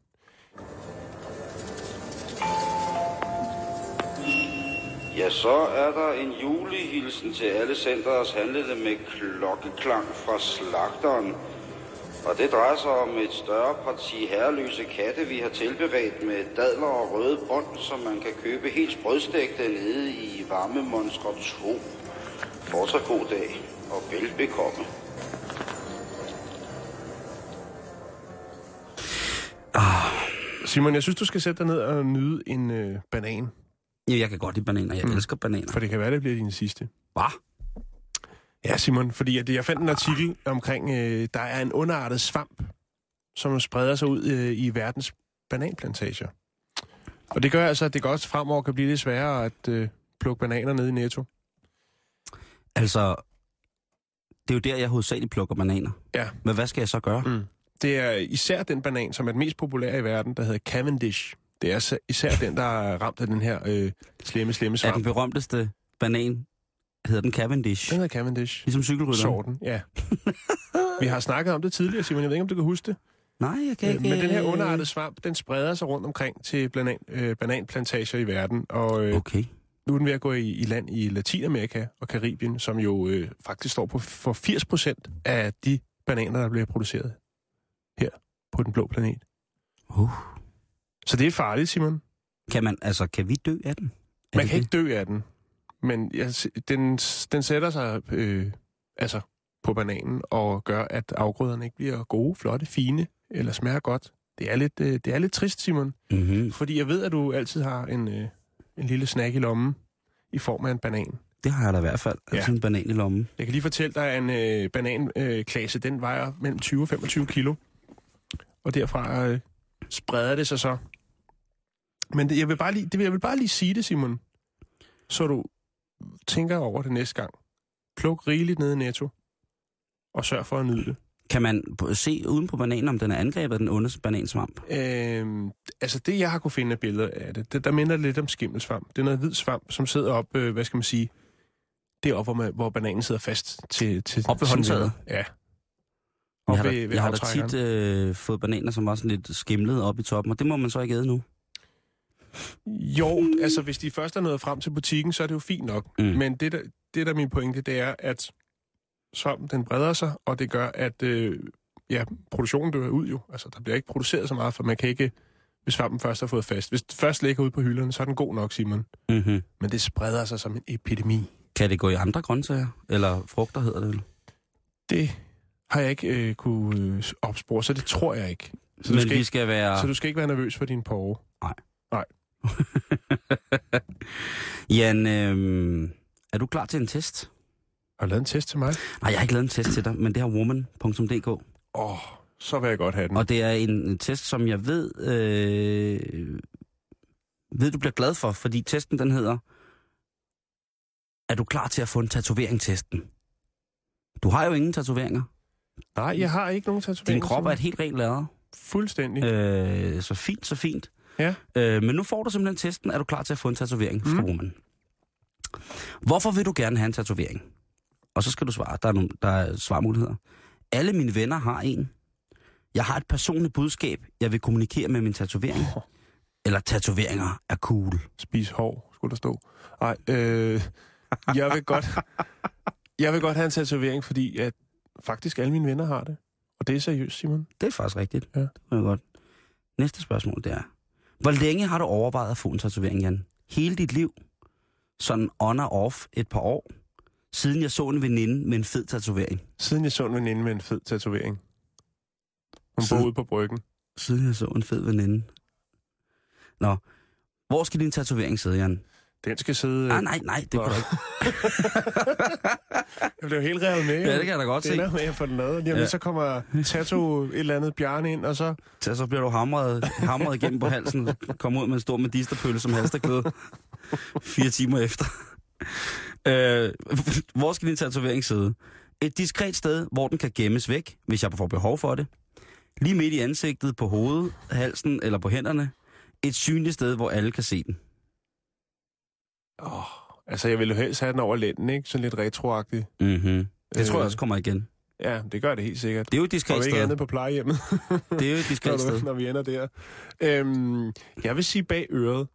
Ja, så er der en julehilsen til alle centers handlende med klokkeklang fra slagteren. Og det drejer sig om et større parti herreløse katte, vi har tilberedt med dadler og røde bånd, som man kan købe helt sprødstægte nede i varme Monster 2. Fortsat god dag, og velbekomme.
Simon, jeg synes, du skal sætte dig ned og nyde en øh, banan,
Jo, jeg kan godt lide bananer. Jeg mm. elsker bananer.
for det kan være, det bliver din sidste.
Hvad?
Ja, Simon, fordi at jeg fandt en artikel omkring, øh, der er en underartet svamp, som spreder sig ud øh, i verdens bananplantager. Og det gør altså, at det godt fremover kan blive lidt sværere at øh, plukke bananer ned i Netto.
Altså, det er jo der, jeg hovedsageligt plukker bananer.
Ja.
Men hvad skal jeg så gøre? Mm.
Det er især den banan, som er den mest populære i verden, der hedder Cavendish. Det er så- især den, der er ramt af den her øh, slemme, slemme
Er
svamp.
den
Den
berømteste banan, hedder den Cavendish.
hedder Cavendish.
Ligesom cykelrytteren.
Sorten, ja. Vi har snakket om det tidligere, Simon. Jeg ved ikke, om du kan huske det.
Nej, jeg kan
Okay.
ikke...
Øh,
øh,
Men den her underartede svamp, den spreder sig rundt omkring til banan, øh, bananplantager i verden. Og øh,
Okay.
nu er den ved at gå i, i land i Latinamerika og Karibien, som jo øh, faktisk står på for 80 procent af de bananer, der bliver produceret her på den blå planet.
Uh.
Så det er farligt, Simon.
Kan man, altså, kan vi dø af den? Er
Man
det
kan
det?
ikke dø af den, men jeg, den, den sætter sig øh, altså på bananen og gør, at afgrøderne ikke bliver gode, flotte, fine eller smager godt. Det er lidt, øh, det er lidt trist, Simon.
Mm-hmm.
Fordi jeg ved, at du altid har en, øh, en lille snack i lommen i form af en banan.
Det har jeg da i hvert fald.
Ja.
Ja. Sådan en banan i lommen.
Jeg kan lige fortælle dig, at en øh, bananklasse, øh, klasse, den vejer mellem 20 og 25 kilo. Og derfra øh, spreder det sig så. Men det, jeg, vil bare lige, det, vil- jeg vil bare lige sige det, Simon. Så du tænker over det næste gang. Pluk rigeligt ned i netto. Og sørg for at nyde det.
Kan man på- se uden på bananen, om den er angrebet af den onde banansvamp?
Øh, altså det, jeg har kunne finde af billeder af det, det, der minder det lidt om skimmelsvamp. Det er noget hvid svamp, som sidder op, øh, hvad skal man sige, det er op, hvor, man, hvor bananen sidder fast til... til
Op ved
sine
håndtaget?
vinger. Ja.
Jeg
Op
har da,
ved- ved
jeg har da
aftrækkeren.
tit øh, fået bananer, som var sådan lidt skimlet op i toppen, og det må man så ikke æde nu. øh-
Jo, altså hvis de først er nået frem til butikken, så er det jo fint nok. Mm.
Mm.
Men det der, det der er min pointe, det er, at svampen den breder sig, og det gør, at øh, ja, produktionen dør ud jo. Altså der bliver ikke produceret så meget, for man kan ikke, hvis svampen først har fået fast. Hvis den først ligger ude på hylderne, så er den god nok, Simon.
Mm-hmm.
Men det spreder sig som en epidemi.
Kan det gå i andre grøntsager? Eller frugter hedder det vel?
Det har jeg ikke øh, kunne øh, opspore, så det tror jeg ikke. Så du,
Men
skal
vi
ikke,
skal være...
så du skal ikke være nervøs for din porre.
Jan, øh, er du klar til en test?
Har du lavet en test til mig?
Nej, jeg har ikke lavet en test til dig, men det har woman.dk.
Åh, oh, så vil jeg godt have den.
Og det er en test, som jeg ved, øh, ved du bliver glad for, fordi testen den hedder, er du klar til at få en tatovering-testen? Du har jo ingen tatoveringer.
Nej, jeg har ikke nogen
Din
tatovering.
krop er
Simon.
et helt rent lader.
Fuldstændig.
Øh, så fint, så fint.
Ja.
Øh, men nu får du simpelthen testen, er du klar til at få en tatovering fra
Mm.
mm. Woman? Hvorfor vil du gerne have en tatovering? Og så skal du svare. Der er, nogle, der er svarmuligheder. Alle mine venner har en. Jeg har et personligt budskab, jeg vil kommunikere med min tatovering.
Åh.
Eller tatoveringer er cool.
spise hår, skulle der stå. Nej, øh, jeg vil godt... Jeg vil godt have en tatovering, fordi at faktisk alle mine venner har det. Og det er seriøst, Simon.
Det er faktisk rigtigt.
Ja.
Det var godt. Næste spørgsmål, det er. Hvor længe har du overvejet at få en tatovering, Jan? Hele dit liv? Sådan on og off et par år? Siden jeg så en veninde med en fed tatovering.
Siden jeg så en veninde med en fed tatovering. Hun
Siden-
boede ude på bryggen.
Siden jeg så en fed veninde. Nå. Hvor skal din tatovering sidde, Jan?
Den skal sidde...
Ah, Nej, nej, nej, det
Nå.
kan du ikke.
Jeg blev helt revet med.
Ja, det kan jeg da godt
det
se.
ender med at få den lavet. Lige om
Ja.
lidt, så kommer Tato et eller andet bjørne ind, og så...
Så, så bliver du hamret, hamret igennem på halsen, kommer ud med en stor medisterpølle som halsterklæde fire timer efter. Øh, hvor skal din tatovering sidde? Et diskret sted, hvor den kan gemmes væk, hvis jeg får behov for det. Lige midt i ansigtet, på hovedet, halsen eller på hænderne. Et synligt sted, hvor alle kan se den.
Altså, jeg ville jo helst have den over lænden, ikke? Sådan lidt retroagtigt.
Mm-hmm. Det tror jeg
Øh.
også kommer igen.
Ja, det gør det helt sikkert.
Det er jo et
Og
diskret
ikke
sted.
andet på plejehjemmet.
Det er jo et diskret
når,
sted.
du, når vi ender der. Øhm, jeg vil sige bag øret.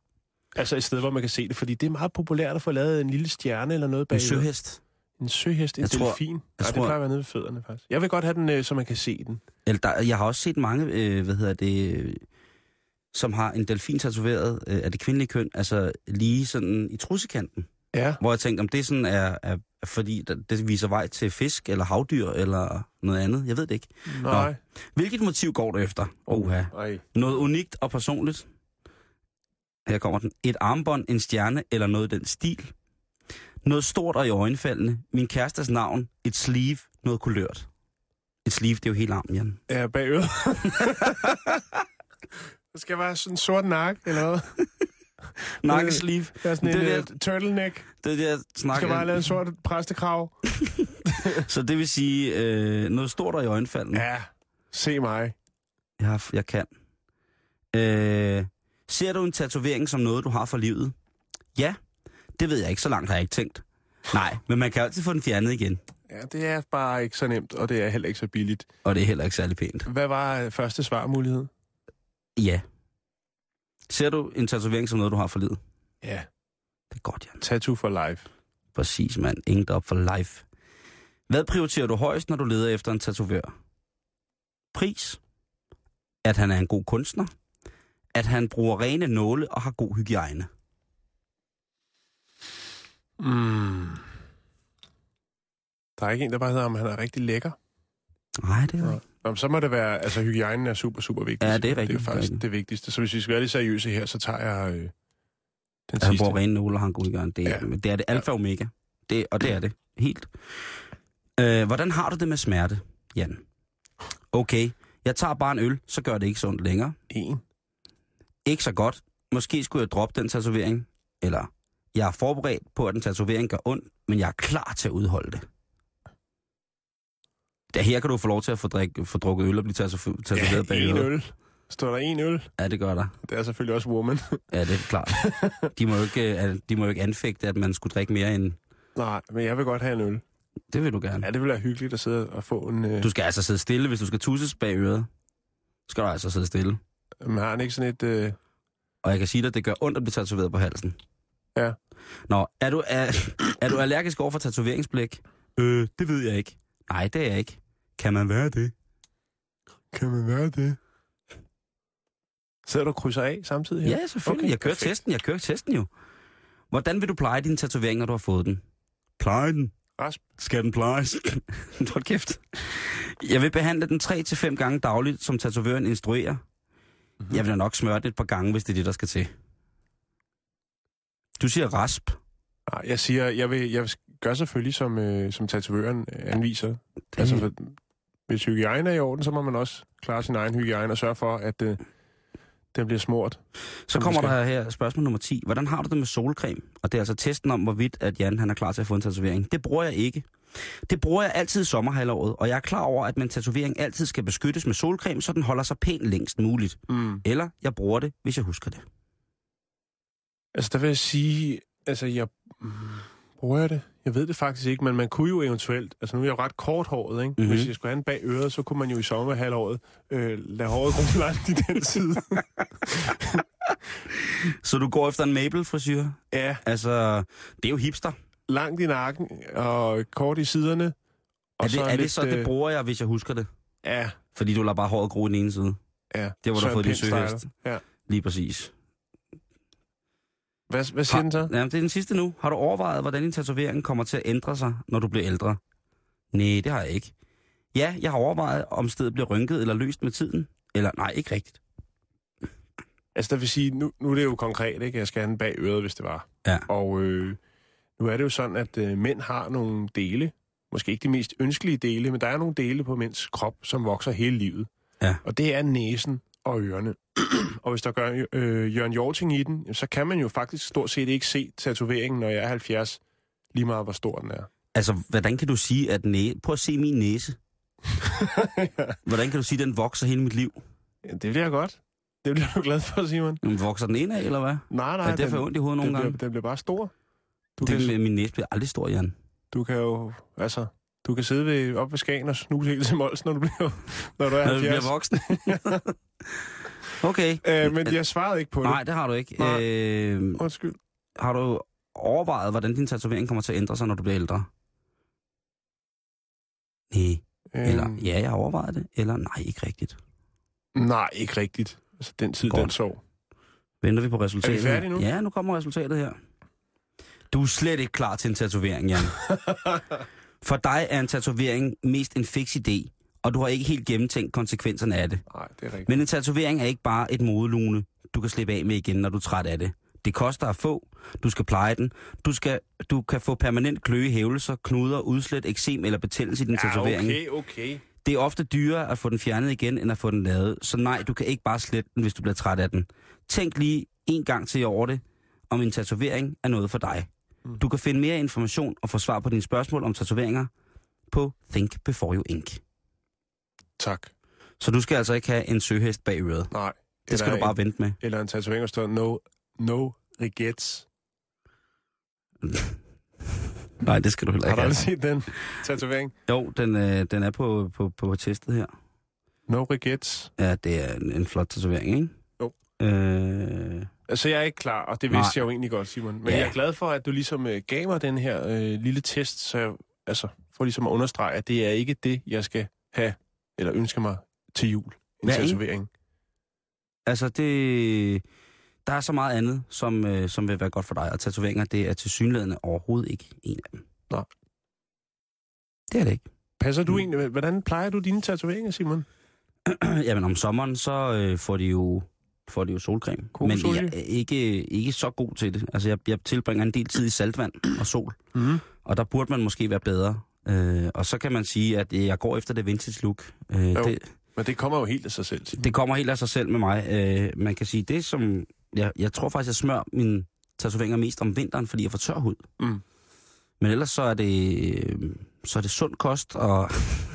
Altså et sted, hvor man kan se det, fordi det er meget populært at få lavet en lille stjerne eller noget bag
En
øret.
søhest.
En søhest, en
Jeg tror-
delfin. Nej, det
tror-
plejer at være nede ved fødderne, faktisk. Jeg vil godt have den, øh, så man kan se den.
Eller der, jeg har også set mange, øh, hvad hedder det, øh, som har en delfin tatoveret øh, af det kvindelige køn, altså lige sådan i trussekanten.
Ja.
Hvor jeg tænkte, om det sådan er, er er fordi der- det viser vej til fisk eller havdyr eller noget andet. Jeg ved det ikke.
Nej.
Hvilket motiv går du efter? Oha.
Ej.
Noget unikt og personligt. Her kommer den. Et armbånd, en stjerne eller noget i den stil. Noget stort og i øjenfaldende. Min kærestes navn. Et sleeve. Noget kulørt. Et sleeve, det er jo helt armen, Jan.
Ja, bag øret. det skal være sådan en sort nakke, eller hvad?
Nakkesleeve.
Ja, sådan en
Det
det
der-
uh, turtleneck. Det
Det er det, jeg
skal
snakker
bare lave
om.
en sort præstekrav.
Så det vil sige øh, noget stort og i øjenfalden. Ja.
Ja, se mig.
Jeg, har, jeg kan. Øh, ser du en tatovering som noget, du har for livet? Ja, det ved jeg ikke. Så langt har jeg ikke tænkt. Nej, men man kan altid få den fjernet igen.
Ja, det er bare ikke så nemt, og det er heller ikke så billigt.
Og det er heller ikke særlig pænt.
Hvad var øh, første svarmulighed?
Ja. Ser du en tatovering som noget, du har for livet?
Ja,
Det er godt, Jan.
tattoo for life.
Præcis, mand. Ingen op for life. Hvad prioriterer du højst, når du leder efter en tatovør? Pris. At han er en god kunstner. At han bruger rene nåle og har god hygiejne.
Mm. Der er ikke en, der bare hedder, om han er rigtig lækker.
Nej, det er ikke.
Nå, men så må det være, altså hygiejnen er super, super vigtig.
Ja, det er
Det er
rigtigt.
jo faktisk
Rigtigt.
det vigtigste. Så hvis vi skal være lidt seriøse her, så tager jeg øh, den
At han
sidste.
bruger rene nåle, og han går i gang. Det,
Ja.
ja. det er det alfa og omega. Det, og det er det. Helt. Øh, hvordan har du det med smerte, Jan? Okay, jeg tager bare en øl, så gør det ikke så ondt længere.
En.
Ikke så godt. Måske skulle jeg droppe den tatovering. Eller, jeg er forberedt på, at den tatovering gør ondt, men jeg er klar til at udholde det. Der, her kan du få lov til at få, drik, få drukket øl og blive tatu- tatoveret ja, bag
en
øret.
øl. Står der en øl?
Ja, det gør der.
Det er selvfølgelig også woman.
Ja, det er klart. De må jo ikke, øh, de må jo ikke anfægte, at man skulle drikke mere end...
Nej, men jeg vil godt have en øl.
Det vil du gerne.
Ja, det ville være hyggeligt at sidde og få en... Øh,
Du skal altså sidde stille, hvis du skal tusses bag øret. Så skal du altså sidde stille.
man har han ikke sådan et... Øh,
Og jeg kan sige dig, at det gør ondt at blive tatoveret på halsen.
Ja.
Nå, er du, er, er du allergisk over for tatoveringsblik? Øh, det ved jeg ikke. Nej, det er jeg ikke. Kan man være det?
kan man være det? Sidder du og krydser af samtidig? her?
Ja, selvfølgelig. Okay, jeg kører
perfekt.
testen, jeg kører testen jo. Hvordan vil du pleje din tatovering, når du har fået den? Pleje den?
Rasp.
Skal den plejes? Hold kæft. Jeg vil behandle den 3-5 gange dagligt, som tatovøren instruerer.
Mhm.
Mm-hmm. Jeg vil da nok smøre den et par gange, hvis det er det, der skal til. Du siger rasp.
Nej, Ah, jeg siger, jeg vil, jeg vil gøre selvfølgelig, som, øh, som tatovøren øh, anviser. Det... Altså, for, hvis hygiejne er i orden, så må man også klare sin egen hygiejne og sørge for, at øh, den bliver smurt.
Så kommer der her spørgsmål nummer 10. Hvordan har du det med solcreme? Og det er altså testen om, hvorvidt at Jan han er klar til at få en tatovering. Det bruger jeg ikke. Det bruger jeg altid i sommerhalvåret, og jeg er klar over, at min tatovering altid skal beskyttes med solcreme, så den holder sig pænt længst muligt.
Mm.
Eller jeg bruger det, hvis jeg husker det.
Altså, der vil jeg sige, altså, jeg... Mm, bruger jeg det? Jeg ved det faktisk ikke, men man kunne jo eventuelt... Altså, nu er jeg jo ret korthåret, ikke? Mm-hmm.
Mhm.
Hvis jeg skulle have en bag øret, så kunne man jo i sommerhalvåret øh, lade håret gro langt i den side.
Så du går efter en Mabel-frisyr?
ja,
Altså, det er jo hipster.
langt i nakken og kort i siderne. Og
er det så, er det, så
lidt,
det
øh,
bruger jeg, hvis jeg husker det?
Ja,
Fordi du lader bare håret gro i den ene side.
ja.
Det var, du har
Søren
fået din
Pind style.
søhest.
Ja.
Lige præcis.
Hvad, hvad siger den så?
Jamen, det er den sidste nu. Har du overvejet, hvordan din tatovering kommer til at ændre sig, når du bliver ældre? Nej, det har jeg ikke. Ja, jeg har overvejet, om stedet bliver rynket eller løst med tiden. Eller nej, ikke rigtigt.
Altså, der vil sige, nu, nu er det jo konkret, ikke? Jeg skal have den bag øret, hvis det var.
Ja.
Og øh, nu er det jo sådan, at øh, mænd har nogle dele. Måske ikke de mest ønskelige dele, men der er nogle dele på mænds krop, som vokser hele livet.
Ja.
Og det er næsen og ørerne. og hvis der gør øh, Jørgen Jorting i den, jamen, så kan man jo faktisk stort set ikke se tatoveringen, når jeg er 70, lige meget hvor stor den er.
Altså, hvordan kan du sige, at næ... Prøv at se min næse. Hvordan kan du sige, at den vokser hele mit liv?
Ja, det bliver godt. Det bliver du glad for, Simon.
Jamen, vokser den ene af, eller hvad?
Nej, nej.
er det derfor jeg har ondt i hovedet
den,
nogle gange?
bliver, den bliver bare stor. Du
Det,
kan,
med- min næse bliver aldrig stor, Jan.
du kan jo, altså, du kan sidde ved, op ved Skagen og snuse helt til Mols, når du bliver, når du er
Når du
70.
bliver voksen. okay.
Øh, men jeg svarede ikke på det.
Nej, det har du ikke.
Nej.
Øh,
Undskyld.
har du overvejet, hvordan din tatovering kommer til at ændre sig, når du bliver ældre? Nej. Eller
Øhm,
ja, jeg har overvejet det. Eller nej, ikke rigtigt.
Nej, ikke rigtigt. Altså, den tid,
Godt.
den sov.
Venter vi på resultatet?
Er vi færdige nu?
Ja, nu kommer resultatet her. Du er slet ikke klar til en tatovering, Jan. For dig er en tatovering mest en fix idé, og du har ikke helt gennemtænkt konsekvenserne af det.
Nej, det er rigtigt.
Men en tatovering er ikke bare et modelune, du kan slippe af med igen, når du er træt af det. Det koster at få, du skal pleje den, du, skal, du kan få permanent kløe, hævelser, knuder, udslæt, eksem eller betændelse i din tatovering.
okay.
Det er ofte dyrere at få den fjernet igen, end at få den lavet. Så nej, du kan ikke bare slette den, hvis du bliver træt af den. Tænk lige en gang til over det, om en tatovering er noget for dig. Du kan finde mere information og få svar på dine spørgsmål om tatoveringer på Think Before You Ink.
Tak.
Så du skal altså ikke have en søhest bag øret.
Nej.
Det skal
eller
du bare
En,
vente med.
eller en tatovering, der står no, no regrets.
Nej, det skal du heller
Har du
ikke
aldrig
have.
set den tatovering?
Jo, den, øh, den er på, på, på testet her.
No regrets.
Ja, det er en, en flot tatovering, ikke?
Jo.
Øh,
Altså, jeg er ikke klar, og det
Nej.
vidste jeg jo egentlig godt, Simon. Men
Ja.
ja. jeg er glad for, at du ligesom øh, gav mig den her øh, lille test, så jeg, altså, for ligesom at understrege, at det er ikke det, jeg skal have, eller ønske mig til jul. En
Hvad er det?
tatovering.
Altså, det, der er så meget andet, som, øh, som vil være godt for dig. Og tatoveringer, det er til synlædende overhovedet ikke en af dem.
Nej.
Det er det ikke.
Passer du egentlig, hvordan plejer du dine tatoveringer, Simon?
Jamen om sommeren, så øh, får de jo får de jo solcreme. Men
Kokosolie?
jeg er ikke, ikke så god til det. Altså, jeg, jeg tilbringer en del tid i saltvand og sol.
Mhm.
Og der burde man måske være bedre. Øh, og så kan man sige, at øh, jeg går efter det vintage look. Øh,
Jo.
det,
Men det kommer jo helt af sig selv. Simon.
det kommer helt af sig selv med mig. Øh, man kan sige, det som... Jeg, jeg tror faktisk, jeg smører mine tatoveringer mest om vinteren, fordi jeg får tør hud.
Mm.
Men ellers så er det, øh, så er det sund kost, og...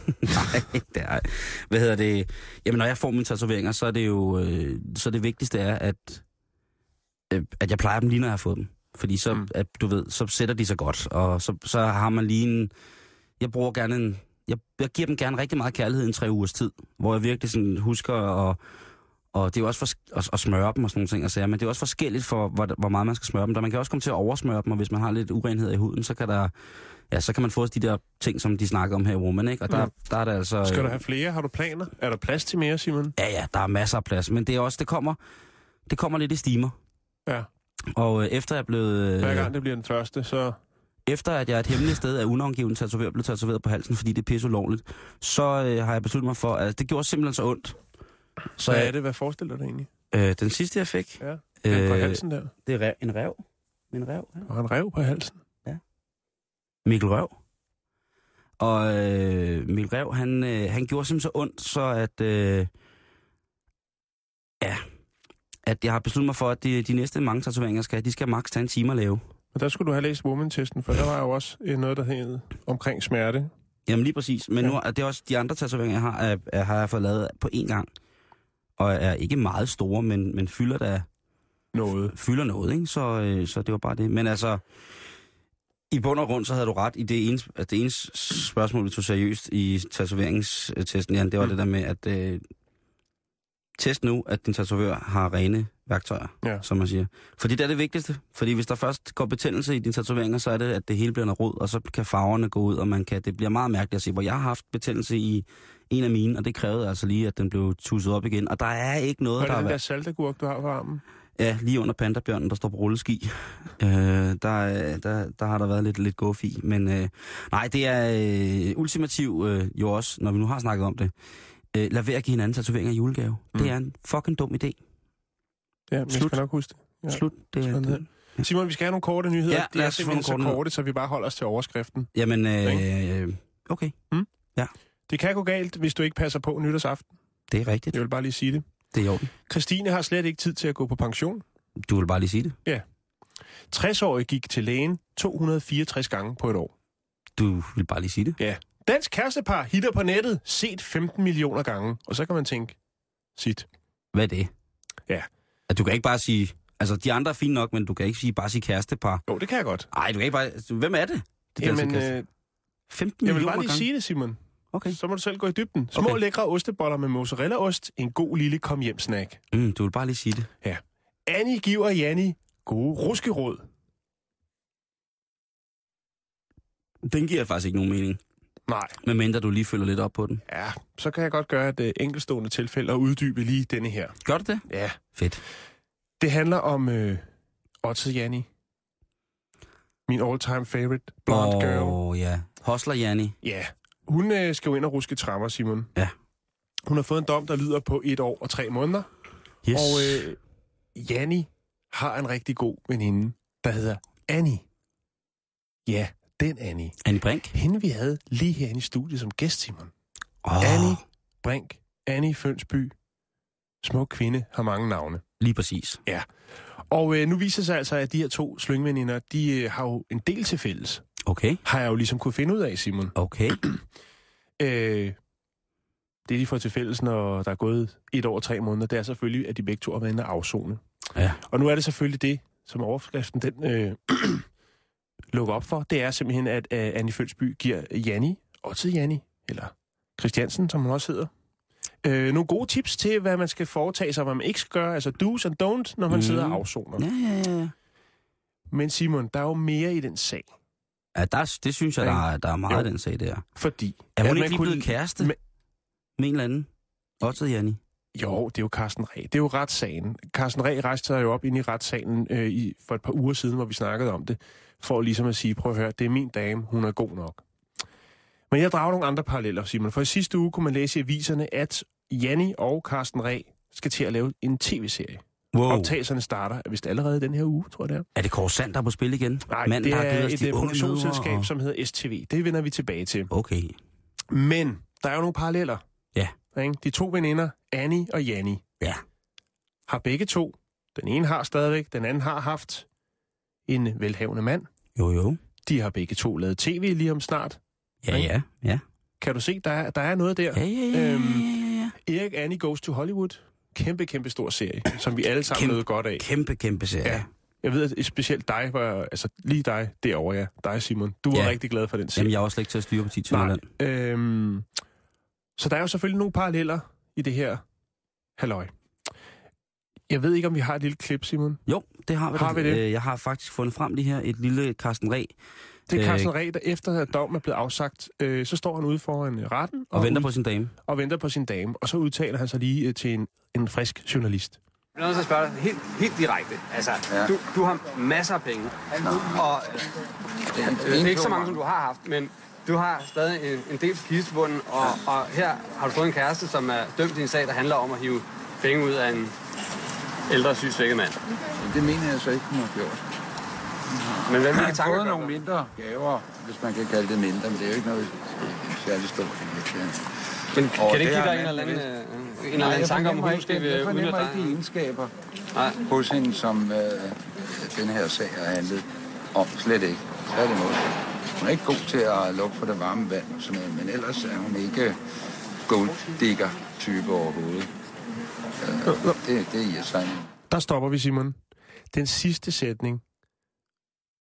Nej, det er, hvad hedder det? Jamen, når jeg får mine tatoveringer, så er det jo... Øh, så det vigtigste er, at, øh, at jeg plejer dem lige, når jeg har fået dem. Fordi så,
Mm.
mm. at, du ved, så sætter de sig godt, og så, så har man lige en... Jeg bruger gerne en... Jeg, jeg giver dem gerne rigtig meget kærlighed i en tre ugers tid, hvor jeg virkelig sådan husker at og det er jo også for, at, at smøre dem og sådan nogle ting, altså, men det er også forskelligt for, hvor, hvor meget man skal smøre dem. Der man kan også komme til at oversmøre dem, og hvis man har lidt urenhed i huden, så kan, der, ja, så kan man få de der ting, som de snakker om her i Woman, ikke? Og der,
Ja.
der er det altså...
Skal du
øh,
have flere? Har du planer? Er der plads til mere, Simon?
Ja, ja, der er masser af plads, men det er også, det kommer, det kommer lidt i stimer.
Ja.
Og øh, efter jeg er blevet...
Hver
Øh,
gang det bliver den første, så...
efter at jeg et hemmeligt sted af unavngiven tatoveret blev tatoveret på halsen, fordi det er pisse ulovligt, så øh, har jeg besluttet mig for, at det gjorde simpelthen så ondt. Så
Hvad er
jeg,
det? Hvad forestiller du dig egentlig?
øh, den sidste, jeg fik,
Ja. Den på
øh,
halsen der.
det er rev- en rev. En rev, ja.
Og en rev på halsen.
Mikkel Røv. Og øh, Mikkel Røv, han, øh, han gjorde simpelthen så ondt, så at... Øh, ja, at jeg har besluttet mig for, at de, de næste mange tatoveringer, jeg skal, have, de skal maks tage en time at lave.
Og der skulle du have læst woman-testen, for der var jo også øh, noget, der hed omkring smerte.
Jamen lige præcis. Men
Ja.
ja. nu er det er også de andre tatoveringer, jeg har, er, er, har jeg fået lavet på én gang. Og er ikke meget store, men, men fylder da
Noget.
fylder noget, ikke? Så, øh, så det var bare det. Men altså, i bund og grund, så havde du ret i det ene, at det ene s- spørgsmål, vi tog seriøst i tatoveringstesten, Jan, det
Mm.
var det der med, at øh, test nu, at din tatovør har rene værktøjer,
Ja.
ja. som man siger. Fordi det er det vigtigste. Fordi hvis der først går betændelse i dine tatoveringer, så er det, at det hele bliver noget rod, og så kan farverne gå ud, og man kan, det bliver meget mærkeligt at se, hvor jeg har haft betændelse i en af mine, og det krævede altså lige, at den blev tusset op igen. Og der er ikke noget,
Hvad
der
er det
er
den der saltagurk, du har på armen?
Ja, lige under pandabjørnen, der står på rulleski. Øh, der, er- der, der har der været lidt, lidt guff i. Men øh, nej, det er øh, ultimativ øh, jo også, når vi nu har snakket om det. Øh, lad være at give hinanden tatoveringer i julegave. Mm. Det er en fucking dum idé.
Ja, men jeg
Slut.
skal nok huske det.
Ja.
Ja.
Slut. Det er,
Sådan
det.
her. Simon, vi skal have nogle korte nyheder.
Ja,
De
lad
er
os få
simpelthen
nogle
så
korte nyheder.
korte, så vi bare holder os til overskriften.
Jamen, øh, okay.
Det kan gå galt, hvis du ikke passer på nytårsaften.
Det er rigtigt.
Jeg vil bare lige sige det.
Det er i orden.
Christine har slet ikke tid til at gå på pension.
Du vil bare lige sige det.
60-årig gik til lægen 264 gange på et år.
Du vil bare lige sige det.
Dansk kærestepar hitter på nettet, set 15 millioner gange. Og så kan man tænke, sit.
Hvad er det?
Ja.
At du kan ikke bare sige... Altså, de andre er fine nok, men du kan ikke sige, bare sige kærestepar.
Jo, det kan jeg godt.
Nej, du kan ikke bare... Hvem er det? det er altså
Jamen,
kæreste-
øh,
15
jeg vil
millioner
bare lige
gange.
sige det, Simon.
Okay.
Så må du selv gå i dybden. Små
Okay.
lækre osteboller med mozzarellaost. En god lille kom hjem snack.
Mm, du vil bare lige sige det.
Annie giver Janni gode ruskeråd.
Den giver faktisk ikke nogen mening,
Nej,
medmindre du lige følger lidt op på den.
ja, så kan jeg godt gøre et øh, enkeltstående tilfælde og uddybe lige denne her.
Gør du det?
Ja.
Fedt.
Det handler om øh, Otze Janni. Min all-time favorite blonde oh. girl.
Åh, ja. Hostler Janni.
Ja, hun øh, skal jo ind og ruske trammer, Simon.
Ja.
Hun har fået en dom, der lyder på et år og tre måneder.
Yes.
Og øh, Janni har en rigtig god veninde, der hedder Annie. Ja, den Annie.
Anne Brink.
Hende vi havde lige herinde i studiet som gæst, Simon.
Oh,
Annie Brink, Annie Fønsby. Smuk kvinde, har mange navne.
Lige præcis.
Og øh, nu viser det sig altså, at de her to slyngveninder, de øh, har jo en del til fælles.
Okay.
Har jeg jo ligesom kunne finde ud af, Simon.
Okay.
Øh, det, de får til fælles, når der er gået et år og tre måneder, det er selvfølgelig, at de begge to har været inde og afzone.
Ja.
Og nu er det selvfølgelig det, som overskriften den øh, lukker op for. Det er simpelthen, at øh, Annie Følsby giver Janni, og til Janni, eller Christiansen, som hun også hedder, øh, nogle gode tips til, hvad man skal foretage sig, og hvad man ikke skal gøre. Altså do's and don't, når man mm.
Mm.
sidder og afzoner.
Ja, ja, ja.
Men Simon, der er jo mere i den sag.
ja der, det synes jeg, der er, der er meget
Jo.
jo. den sag der.
Fordi...
Er hun
at man
ikke lige
kunne-
blevet kæreste
Men-
med, med en eller anden? Otto Janni.
Jo, det er jo Carsten Ræ. Det er jo retssagen. Carsten Ræ rejste sig jo op inde i retssalen øh, i, for et par uger siden, hvor vi snakkede om det, for ligesom at sige, prøv at høre, det er min dame, hun er god nok. Men jeg drager nogle andre paralleller, Simon. For i sidste uge kunne man læse i aviserne, at Janni og Carsten Ræ skal til at lave en tv-serie.
Wow.
Optagelserne starter vist allerede den her uge, tror jeg det er.
Er det Korsand, der er på spil igen?
Nej,
Manden,
det
der har givet
er
os
et
de
øh,
unge
produktionsselskab,
mødre og-
som hedder STV. Det vender vi tilbage til.
Okay.
Men der er jo nogle paralleller.
Ja.
Ikke? De to veninder, Annie og Janni,
Ja.
har begge to. Den ene har stadigvæk, den anden har haft en velhavende mand.
Jo, jo.
De har begge to lavet tv lige om snart.
Ja, ja, ja.
Kan du se, der er, der er noget der.
Ja, ja, ja, ja,
Øhm,
ja, ja.
Erik Annie Goes to Hollywood. Kæmpe, kæmpe stor serie, som vi alle sammen
Kæmpe-
nåede godt af.
Kæmpe, kæmpe serie.
Ja. Jeg ved, at specielt dig, var, altså lige dig derovre, ja. Dig, Simon. Du var
Ja.
rigtig glad for den serie.
Jamen, jeg er også slet ikke til at styre på 10
Nej.
land.
Øhm, så der er jo selvfølgelig nogle paralleller i det her halløj. Jeg ved ikke, om vi har et lille klip, Simon.
Jo, det har vi. da.
Har vi det?
Øh, Jeg har faktisk fundet frem lige her et lille Carsten Ræ
Det er
Øh,
Carsten Ræ, der efter at dommen er blevet afsagt, øh, så står han ude foran øh, retten
og venter
ud-
på sin dame.
og venter på sin dame, og så udtaler han sig lige øh, til en, en frisk journalist.
Jeg er nødt til at spørge dig helt, helt direkte. Altså, ja. du, du har masser af penge. Og øh, ikke så mange, som du har haft, men du har stadig en, en del kistebunden, og, og her har du fået en kæreste, som er dømt i en sag, der handler om at hive penge ud af en ældre syg svækket mand.
Det mener jeg så ikke, hun har gjort.
Men hvad
Jeg
hvilke
har
tanker
fået
gør
nogle
du?
mindre gaver, hvis man kan kalde det mindre, men det er jo ikke noget særligt stort.
Men kan
Åh,
det ikke
det er
give dig en
en
eller anden,
anden
øh, en eller anden tanke om, at hun måske vil
jeg
udnytte
fornemmer ikke de
dig?
egenskaber
Nej.
hos hende, som øh, den her sag har handlet om. Slet ikke. Tværtimod. Hun er ikke god til at lukke for det varme vand, og sådan noget, men ellers er hun ikke golddigger-type overhovedet. Øh, det, det er irriterende.
Der stopper vi, Simon. Den sidste sætning,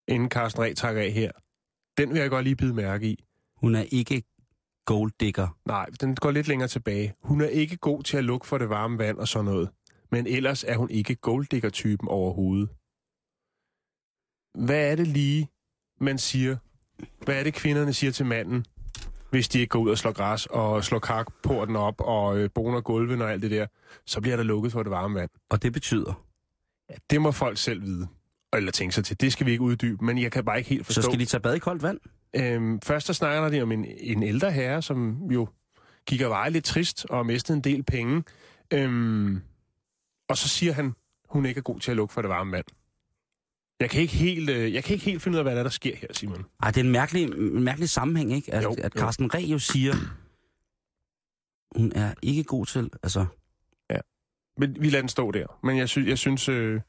inden Carsten Ræ takker af her, den vil jeg godt lige bide mærke i.
Hun er ikke gold digger.
Nej, den går lidt længere tilbage. Hun er ikke god til at lukke for det varme vand og sådan noget. Men ellers er hun ikke golddigger-typen overhovedet. Hvad er det lige, man siger? Hvad er det, kvinderne siger til manden, hvis de ikke går ud og slår græs og slår karkporten op og øh, boner gulven og alt det der? Så bliver der lukket for det varme vand.
Og det betyder,
Det må folk selv vide. Eller tænke sig til. Det skal vi ikke uddybe, men jeg kan bare ikke helt forstå.
så skal de tage bad i koldt vand.
Øhm, først så snakker de om en, en ældre herre, som jo gik og var lidt trist og mistede en del penge. Øhm, og så siger han, hun ikke er god til at lukke for det varme vand. Jeg kan ikke helt, øh, jeg kan ikke helt finde ud af, hvad der, er, der sker her, Simon.
Ej, det er en mærkelig, en mærkelig sammenhæng, ikke? At,
Jo,
at
jo.
Carsten Ræ jo siger, hun er ikke god til, altså...
Men vi lader den stå der. Men jeg, sy- jeg synes, øh,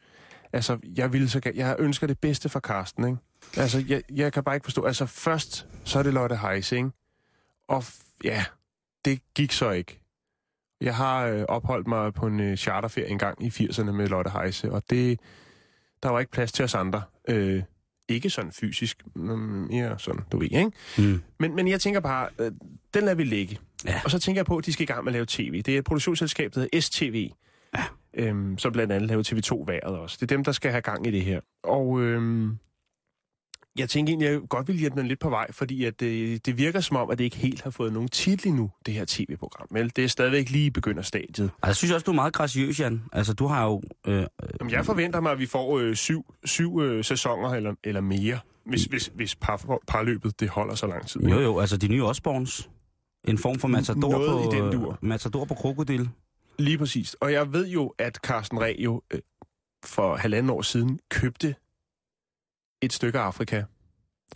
altså, jeg, ville så, ga- jeg ønsker det bedste for Karsten, ikke? Altså, jeg, jeg kan bare ikke forstå. Altså, først, så er det Lotte Heise, ikke? Og f- ja, det gik så ikke. Jeg har øh, opholdt mig på en øh, charterferie en gang i 80'erne med Lotte Heise, og det, der var ikke plads til os andre. Øh, ikke sådan fysisk, men mere sådan, du ved, ikke?
Mm.
Men, men jeg tænker bare, øh, den lader vi ligge.
Ja.
Og så tænker jeg på, at de skal i gang med at lave tv. Det er et produktionsselskab, der hedder STV, ja. øhm, som blandt andet laver TV2-været også. Det er dem, der skal have gang i det her. Og øhm, jeg tænker egentlig, at jeg godt vil hjælpe dem lidt på vej, fordi at, øh, det virker som om, at det ikke helt har fået nogen titel endnu, det her tv-program. Vel, det er stadigvæk lige i begynderstadiet.
Ej, jeg synes også, du er meget graciøs, Jan. Altså, du har jo... Øh,
Jamen, jeg forventer mig, at vi får øh, syv, syv øh, sæsoner eller, eller mere, hvis, hvis, hvis par, parløbet det holder så lang tid.
jo, jo, altså de nye Osborns. En form for matador
Noget
på... øh,
i den dur.
Matador på krokodil.
Lige præcis. Og jeg ved jo, at Carsten Reh jo øh, for halvanden år siden købte et stykke af Afrika.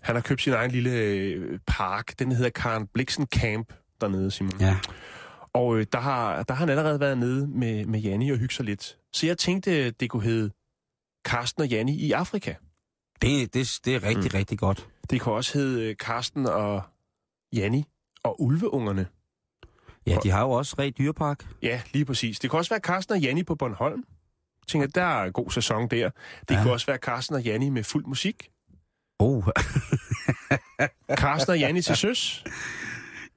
Han har købt sin egen lille øh, park. Den hedder Karen Bliksen Camp dernede, Simon.
Ja.
Og øh, der, har, der har han allerede været nede med, med Janni og hygge sig lidt. Så jeg tænkte, det kunne hedde Carsten og Janni i Afrika.
Det, det, det er rigtig, mm. rigtig godt.
Det kunne også hedde øh, Carsten og Janni og Ulveungerne.
Ja, de har jo også Ræ Dyrepark.
Ja, lige præcis. Det kan også være Carsten og Janni på Bornholm. Jeg tænker, der er en god sæson der. Det
Ja.
ja. kan også være Carsten og Janni med fuld musik.
Oh,
Carsten og Janni til søs.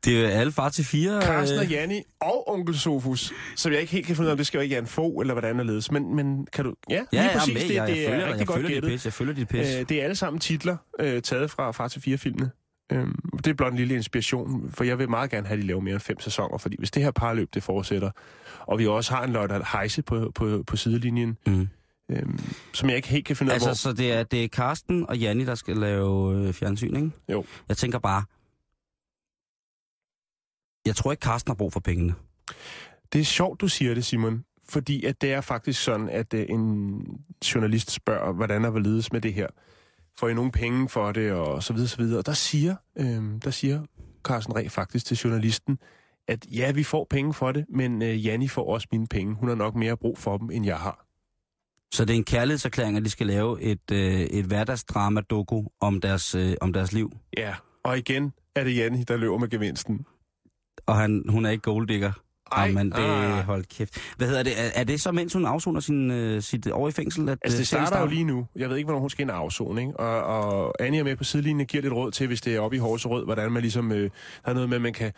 det er alle far til fire.
Carsten
øh,
og Janni og onkel Sofus, som jeg ikke helt kan finde ud af, om det skal være Jan Fo eller hvordan det ledes. Men, men kan du... Ja,
Ja,
lige
ja,
præcis.
med.
det,
Jeg,
det
jeg
er
følger,
rigtig
jeg
godt
følger dit
gættet.
pis. Jeg følger dit pis.
Øh, det er alle sammen titler øh, taget fra Far til 4-filmene. Øhm, det er blot en lille inspiration, for jeg vil meget gerne have, at de laver mere end fem sæsoner, fordi hvis det her parløb det fortsætter, og vi også har en Lotte Heise på, på, på sidelinjen,
Mm.
øhm, som jeg ikke helt kan finde ud af,
altså,
hvor...
så det er, det er Karsten og Janni, der skal lave øh, fjernsyn, ikke?
Jo.
Jeg tænker bare, Jeg tror ikke, Karsten har brug for pengene.
Det er sjovt, du siger det, Simon. Fordi at det er faktisk sådan, at øh, en journalist spørger, hvordan der vil ledes med det her. Får I nogle penge for det, og så videre, så videre. Og der siger, øh, der siger Carsten Reh faktisk til journalisten, at ja, vi får penge for det, men øh, Janni får også mine penge. Hun har nok mere brug for dem, end jeg har.
Så det er en kærlighedserklæring, at de skal lave et, øh, et hverdagsdrama-doku om deres, øh, om deres liv.
Ja, og igen er det Janni, der løber med gevinsten.
Og han, hun er ikke golddigger.
Ej,
Ej, men det
ah.
hold kæft. Hvad hedder det? Er, er det så, mens hun afsoner sin, øh, sit år i fængsel? At,
Altså,
øh,
det starter jo
Stensdagen-
lige nu. Jeg ved ikke, hvornår hun skal ind og afzone, ikke? Og, og Annie er med på sidelinjen og giver lidt råd til, hvis det er oppe i Horserød, hvordan man ligesom... Øh, der er noget med, at man kan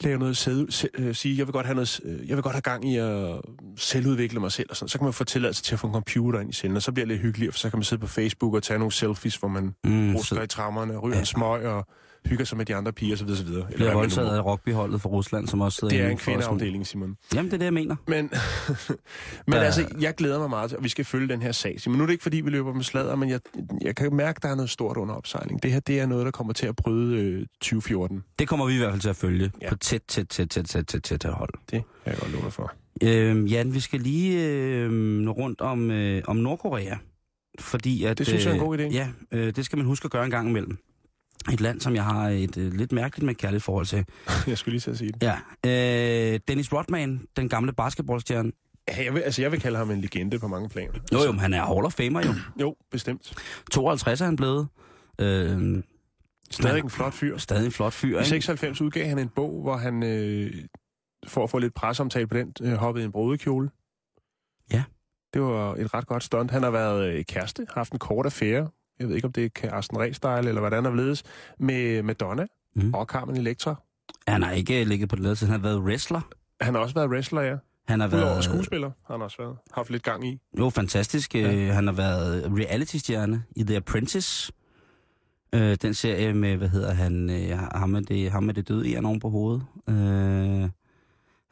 lave noget selv, se, øh, sige, jeg vil, godt have noget, øh, jeg vil godt have gang i at selvudvikle mig selv, og sådan. Så kan man få tilladelse til at få en computer ind i cellen, og så bliver det lidt hyggeligere, for så kan man sidde på Facebook og tage nogle selfies, hvor man
Mm,
mm,
så-
rusker i trammerne, ryger en smøg og hygger sig med de andre piger, osv. osv. Eller hvad
bliver
man nu
voldtaget
må.
af rugbyholdet fra Rusland, som også sidder
Det er
inde
en
for at snu-
kvindeafdeling, Simon.
Jamen, det er det, jeg mener.
Men, men
Der-
altså, jeg glæder mig meget til, og vi skal følge den her sag. Men nu er det ikke, fordi vi løber med sladder, men jeg, jeg kan mærke, der er noget stort under opsejling. Det her, det er noget, der kommer til at bryde øh, 2014.
Det kommer vi i hvert fald til at følge ja.
Ja.
på tæt, tæt, tæt, tæt, tæt, tæt, tæt hold.
Det kan jeg godt love dig for.
Øhm, Jan, vi skal lige øh, nå rundt om, øh, om Nordkorea. Fordi at,
Det synes jeg er en god idé.
Øh, ja, øh, det skal man huske at gøre en gang imellem. Et land, som jeg har et øh, lidt mærkeligt med kærligt forhold til.
Jeg skulle lige til at sige det.
Ja. Øh, Dennis Rodman, den gamle basketballstjerne.
Ja, jeg vil, altså, jeg vil kalde ham en legende på mange planer.
Jo, jo, men han er Hall of Famer jo.
Jo, bestemt.
52 er han blevet. Øh,
Stadig en flot fyr.
stadig en flot fyr,
I
ikke?
96 udgav han en bog, hvor han, øh, for at få lidt presseomtale på den, øh, hoppede i en brodekjole.
Ja.
Det var et ret godt stunt. Han har været øh, kæreste, haft en kort affære, jeg ved ikke, om det er Carsten Reh-style, eller hvordan der ledes, med Madonna
Mm.
mm. og Carmen Electra.
Han har ikke øh, ligget på det lade, han har været wrestler.
Han har også været wrestler, ja.
Han har
Udover
været
skuespiller har han også været. Haft lidt gang i.
Jo, fantastisk. Ja. Han har været reality-stjerne i The Apprentice. Øh, den serie med, hvad hedder han, øh, ham med det, ham med det døde jern oven på hovedet. Øh,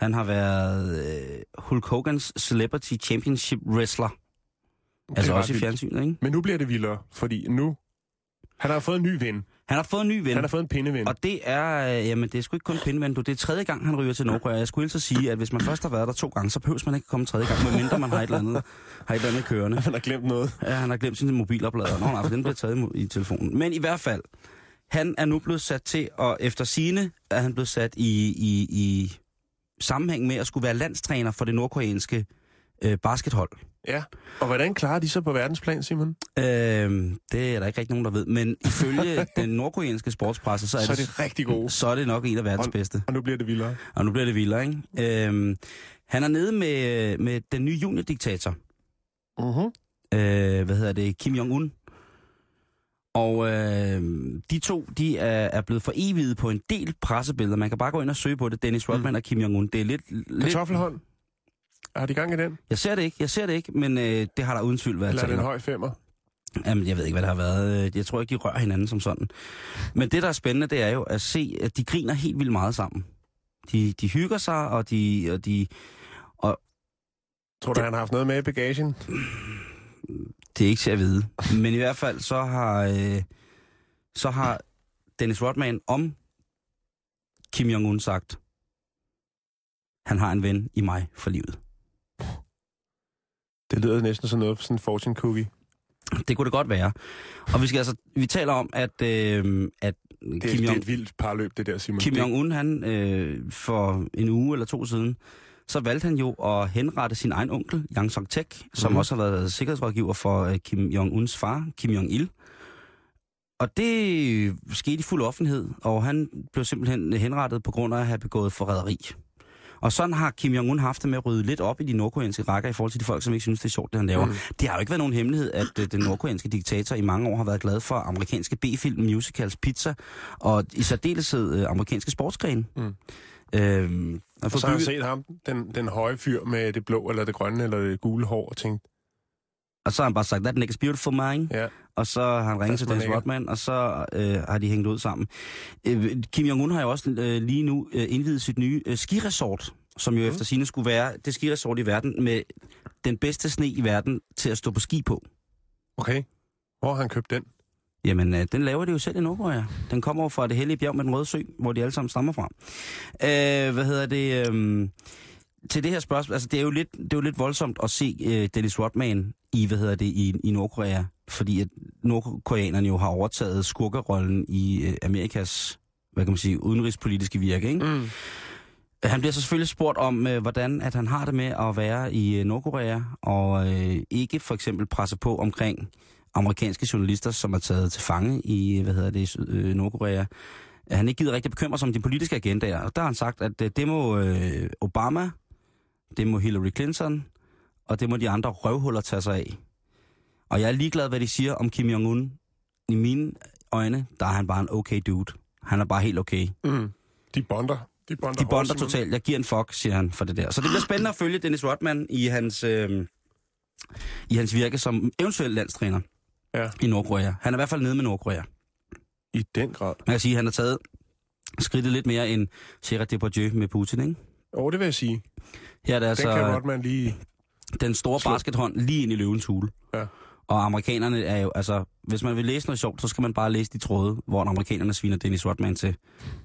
han har været øh, Hulk Hogan's Celebrity Championship Wrestler.
Det
Altså
er ret
også i
vildt.
fjernsynet, ikke?
Men nu bliver det vildere, fordi nu... Han har fået en ny ven.
Han har fået en ny ven.
Han har fået en pindeven.
Og det er, øh, jamen det er sgu ikke kun pindeven, du. Det er tredje gang, han ryger til Nordkorea. Jeg skulle hilse at sige, at hvis man først har været der to gange, så behøver man ikke komme tredje gang, medmindre man har et eller andet, har et eller andet kørende.
Han har glemt noget.
Ja, han har glemt sin mobiloplader. Nå nej, for den blev taget i mo- i telefonen. Men i hvert fald, han er nu blevet sat til, og efter sine er han blevet sat i, i, i sammenhæng med at skulle være landstræner for det nordkoreanske øh, baskethold.
Ja. Og hvordan klarer de så på verdensplan, Simon?
Øh, det er der ikke rigtig nogen, der ved, men ifølge den nordkoreanske sportspresse, så er,
Så er
det,
det rigtig gode.
så er det nok en af verdens bedste.
Og nu bliver det vildere.
Og nu bliver det vildere, ikke? Øhm, han er nede med, med den nye juniordiktator.
Uh-huh.
øh, hvad hedder det, Kim Jong-un. Og øh, de to, de er, er blevet foreviget på en del pressebilleder. Man kan bare gå ind og søge på det, Dennis Rodman mm. og Kim Jong-un. Det er lidt, lidt...
Kartoffelhånd. Har de gang i den?
Jeg ser det ikke, jeg ser det ikke, men øh, det har der uden tvivl været
Eller er det
tale
en
om.
høj femmer?
Jamen, jeg ved ikke, hvad der har været. Øh, Jeg tror ikke, de rører hinanden som sådan. Men det, der er spændende, det er jo at se, at de griner helt vildt meget sammen. De, de hygger sig, og de, og de,
Tror du, han har haft noget med i bagagen?
Det er ikke til at vide. Men i hvert fald, så har, øh, så har Dennis Rodman om Kim Jong-un sagt, han har en ven i mig for livet.
Det lyder næsten sådan noget for sådan en fortune cookie.
Det kunne det godt være. Og vi skal altså, vi taler om, at, øh, at
Det, er,
Kim,
det er
Jong,
et vildt parløb, det der, Simon.
Kim
Det-
Jong-un, han øh, for en uge eller to siden, så valgte han jo at henrette sin egen onkel, Yang Song-tek, som
Mhm.
også har været sikkerhedsrådgiver for øh, Kim Jong-uns far, Kim Jong-il. Og det skete i fuld offentlighed, og han blev simpelthen henrettet på grund af at have begået forræderi. Og sådan har Kim Jong-un haft det med at rydde lidt op i de nordkoreanske rækker i forhold til de folk, som ikke synes, det er sjovt, det han laver. Mm. Det har jo ikke været nogen hemmelighed, at øh, den nordkoreanske diktator i mange år har været glad for amerikanske B-film, musicals, pizza og i særdeleshed øh, amerikanske sportsgrene. Mm.
Mm.
Øhm, og
Og så har jeg set ham, den, den høje fyr med det blå, eller det grønne, eller det gule hår, og tænkt,
Og så har han bare sagt, that nigga's beautiful mine.
ja,
Og så har han ringet
That's
til
my
Dennis
nigga.
Rodman, og så øh, har de hængt ud sammen. Øh, Kim Jong-un har jo også øh, lige nu øh, indvidet sit nye øh, skiresort, som jo mm. efter sine skulle være det skiresort i verden med den bedste sne i verden til at stå på ski på.
okay, hvor har han købt den?
Jamen, øh, den laver de jo selv i Nordkorea. Ja. Den kommer jo fra det hellige bjerg med den røde sø, hvor de alle sammen stammer fra. Øh, hvad hedder det? Øh, til det her spørgsmål, altså det er jo lidt, det er jo lidt voldsomt at se øh, Dennis Rodman i, hvad hedder det, i, i Nordkorea, fordi at nordkoreanerne jo har overtaget skurkerollen i øh, Amerikas, hvad kan man sige, udenrigspolitiske virke, ikke? Mm. Han bliver så selvfølgelig spurgt om, øh, hvordan at han har det med at være i øh, Nordkorea, og øh, ikke for eksempel presse på omkring amerikanske journalister, som er taget til fange i, hvad hedder det, Syd- øh, Nordkorea. Han ikke gider rigtig bekymre sig om de politiske agendaer, og der har han sagt, at øh, det må øh, Obama, det må Hillary Clinton, og det må de andre røvhuller tage sig af. Og jeg er ligeglad, hvad de siger om Kim Jong-un. I mine øjne, der er han bare en okay dude. Han er bare helt okay.
Mm. De bonder. De bonder,
De bonder
hårdt, simpelthen.
totalt. Jeg giver en fuck, siger han for det der. Så det
Ah.
bliver spændende at følge Dennis Rodman i hans, øh, i hans virke som eventuel landstræner
Ja.
i Nordkorea. Han er i hvert fald nede med Nordkorea.
I den grad.
Man kan sige, at han har taget skridtet lidt mere end Sarah Depardieu med Putin, ikke?
Og det vil jeg sige.
Her er det
Altså,
altså...
den kan Rodman lige...
den store
Slå.
baskethånd lige ind i løvens hule.
Ja.
Og amerikanerne er jo, altså, hvis man vil læse noget sjovt, så skal man bare læse de tråde, hvor amerikanerne sviner Dennis Rodman til,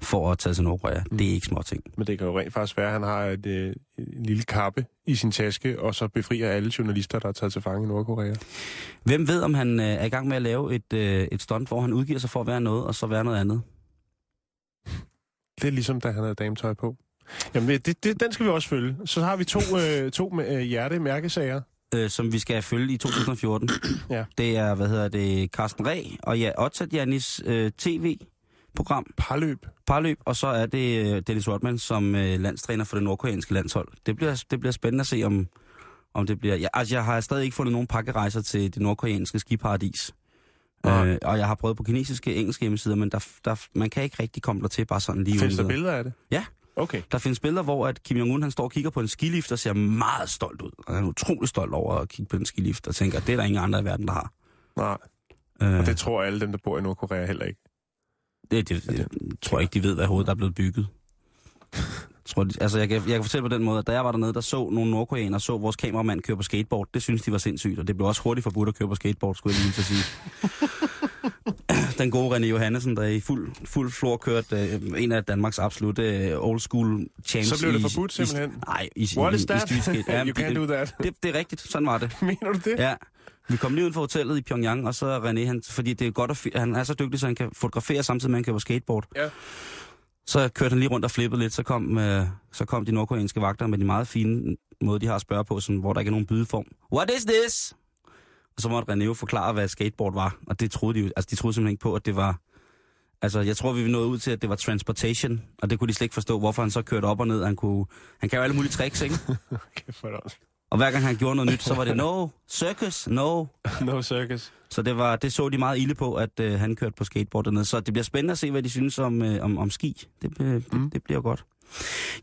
for at tage til Nordkorea. Mm. Det er ikke små ting.
Men det kan jo rent faktisk være, at han har et, øh, en lille kappe i sin taske, og så befrier alle journalister, der er taget til fange i Nordkorea.
Hvem ved, om han øh, er i gang med at lave et, øh, et stunt, hvor han udgiver sig for at være noget, og så være noget andet?
Det er ligesom, da han havde dametøj på. Jamen, det, det, den skal vi også følge. Så har vi to, øh, to med, øh, hjertemærkesager.
Øh, som vi skal følge i 2014.
Ja.
Det er, hvad hedder det, Carsten Reh og ja, Otsat Janis øh, tv-program,
Parløb.
parløb, og så er det øh, Dennis Rodman som øh, landstræner for det nordkoreanske landshold. Det bliver, det bliver spændende at se, om, om det bliver... Jeg, altså, jeg har stadig ikke fundet nogen pakkerejser til det nordkoreanske skiparadis.
Nej.
Øh, og jeg har prøvet på kinesiske engelske hjemmesider, men der, der, man kan ikke rigtig komme der til bare sådan lige
Findes der
uden videre.
billeder af det?
Ja.
Okay.
Der findes billeder, hvor at Kim Jong-un han står og kigger på en skilift og ser meget stolt ud. Og han er utrolig stolt over at kigge på en skilift og tænker, det er der ingen andre i verden, der har.
Nej,
Øh,
og
det,
det tror alle dem, der bor i Nordkorea heller ikke.
det, det, det, tror jeg ikke, de ved, hvad hovedet der er blevet bygget. Tror de, altså, jeg kan, jeg kan fortælle på den måde, at da jeg var dernede, der så nogle nordkoreanere, så vores kameramand køre på skateboard. Det synes de var sindssygt, og det blev også hurtigt forbudt at køre på skateboard, skulle jeg lige til at sige. den gode René Johannesen, der i fuld, fuld flor kørte øh, en af Danmarks absolutte øh, old school champs.
Så blev det
i-
forbudt simpelthen?
I, nej, i,
What
i,
is
i,
that?
I street skate.
You can't
det,
do that.
det, det, er rigtigt, sådan var det.
Mener du det?
Ja. Vi kom lige ud fra hotellet i Pyongyang, og så er René, han, fordi det er godt at, fi- han er så dygtig, så han kan fotografere samtidig med, at han kører på skateboard.
Ja.
Så kørte han lige rundt og flippede lidt, så kom, øh, så kom de nordkoreanske vagter med de meget fine måde, de har at spørge på, sådan, hvor der ikke er nogen bydeform. What is this? Og så måtte René jo forklare, hvad skateboard var, og det troede de jo, altså de troede simpelthen ikke på, at det var, altså jeg tror, vi nåede ud til, at det var transportation, og det kunne de slet ikke forstå, hvorfor han så kørte op og ned, han kunne, han kan jo alle mulige tricks, ikke?
Kæft for det
Og hver gang han gjorde noget nyt, så var det no, circus, no,
No circus.
så det, var, det så de meget ilde på, at øh, han kørte på skateboard dernede. Så det bliver spændende at se, hvad de synes om, øh, om, om ski. Det, øh, det, mm. det bliver godt.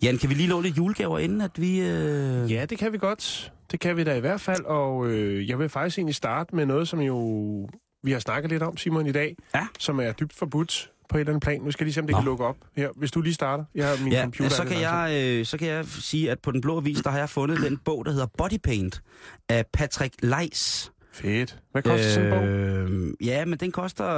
Jan, kan vi lige låne lidt julegaver, inden at vi... Øh...
Ja, det kan vi godt. Det kan vi da i hvert fald, og øh, jeg vil faktisk egentlig starte med noget, som jo vi har snakket lidt om, Simon, i dag,
Ja.
som er dybt forbudt på et eller andet plan. Nu skal jeg lige se, om det
Nå.
kan lukke op her. Hvis du lige starter. Jeg har min
Ja,
computer.
så kan, jeg, øh, så kan jeg sige, at på Den Blå Avis, der har jeg fundet den bog, der hedder Body Paint af Patrick Leis.
Fedt. Hvad koster øh... sådan en bog?
Øh, ja, men den koster,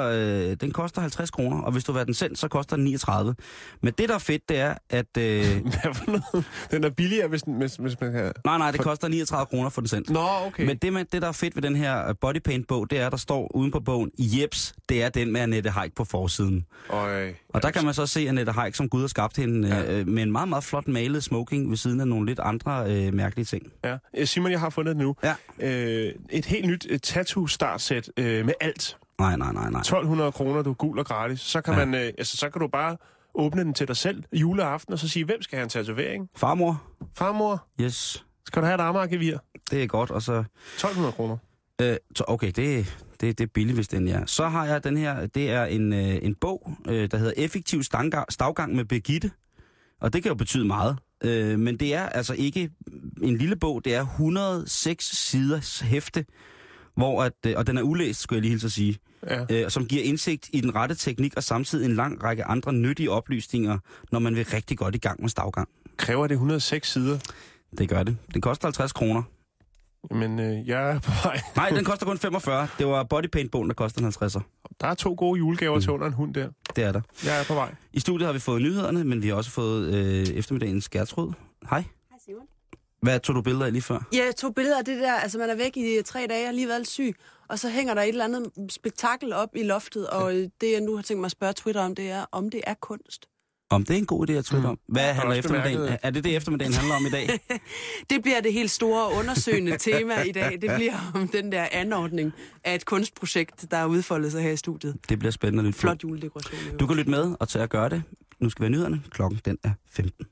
øh, den koster 50 kroner, og hvis du vil have den selv, så koster den 39. Men det, der er fedt, det er, at... Øh,
Hvad for noget? Den er billigere, hvis, den, hvis, hvis man kan...
nej, nej, det koster 39 kroner for den sendt.
Nå, okay.
Men det, man, det, der er fedt ved den her øh, body paint bog, det er, der står uden på bogen, Jeps, det er den med Annette Haik på forsiden.
Øj.
Og der kan man så se Annette Haik, som Gud har skabt hende, ja. øh, med en meget, meget flot malet smoking ved siden af nogle lidt andre øh, mærkelige ting.
Ja. Øh, Simon, jeg har fundet det nu.
Ja.
Øh, et helt nyt øh, tattoo-startsæt øh, med alt.
Nej, nej, nej, nej.
1200 kroner, du er gul og gratis. Så kan,
Ja.
ja. man, øh, altså, så kan du bare åbne den til dig selv juleaften, og så sige, hvem skal have en tatovering?
Farmor,
Farmor,
yes,
skal du have et armarkevir?
det er godt, og så...
1200 kroner.
Øh, så okay, det, det, det er billigt, hvis den er. Så har jeg den her, det er en, øh, en bog, øh, der hedder Effektiv stanga- stavgang med Birgitte. Og det kan jo betyde meget. Øh, men det er altså ikke en lille bog, det er 106 siders hæfte, hvor at, øh, og den er ulæst, skulle jeg lige hilse at sige,
Ja.
øh, som giver indsigt i den rette teknik og samtidig en lang række andre nyttige oplysninger, når man vil rigtig godt i gang med stavgang.
Kræver det 106 sider?
Det gør det. Det koster 50 kroner.
Men øh, jeg er på vej.
Nej, den koster kun 45. Det var bodypaintbogen, der kostede 50.
Der er to gode julegaver mm. til under en hund der.
Det er der.
Jeg er på vej.
I studiet har vi fået nyhederne, men vi har også fået øh, eftermiddagens Gertrud. Hej.
Hej Simon.
Hvad tog du billeder af lige før?
Ja, jeg tog billeder af det der, altså man er væk i tre dage, og alligevel syg, og så hænger der et eller andet spektakel op i loftet, og øh, det jeg nu har tænkt mig at spørge Twitter om, det er, om det er kunst.
Om det er en god idé at trykke mm. om. Hvad
Jeg har
handler
også
eftermiddagen?
bemærket-
Er det det, eftermiddagen handler om i dag?
Det bliver det helt store undersøgende tema i dag. Det bliver om den der anordning af et kunstprojekt, der er udfoldet sig her i studiet.
Det bliver spændende at lytte på.
Flot juledekoration. i øvrigt.
Du kan lytte med og til at gøre det. Nu skal vi have nyhederne. Klokken den er 15.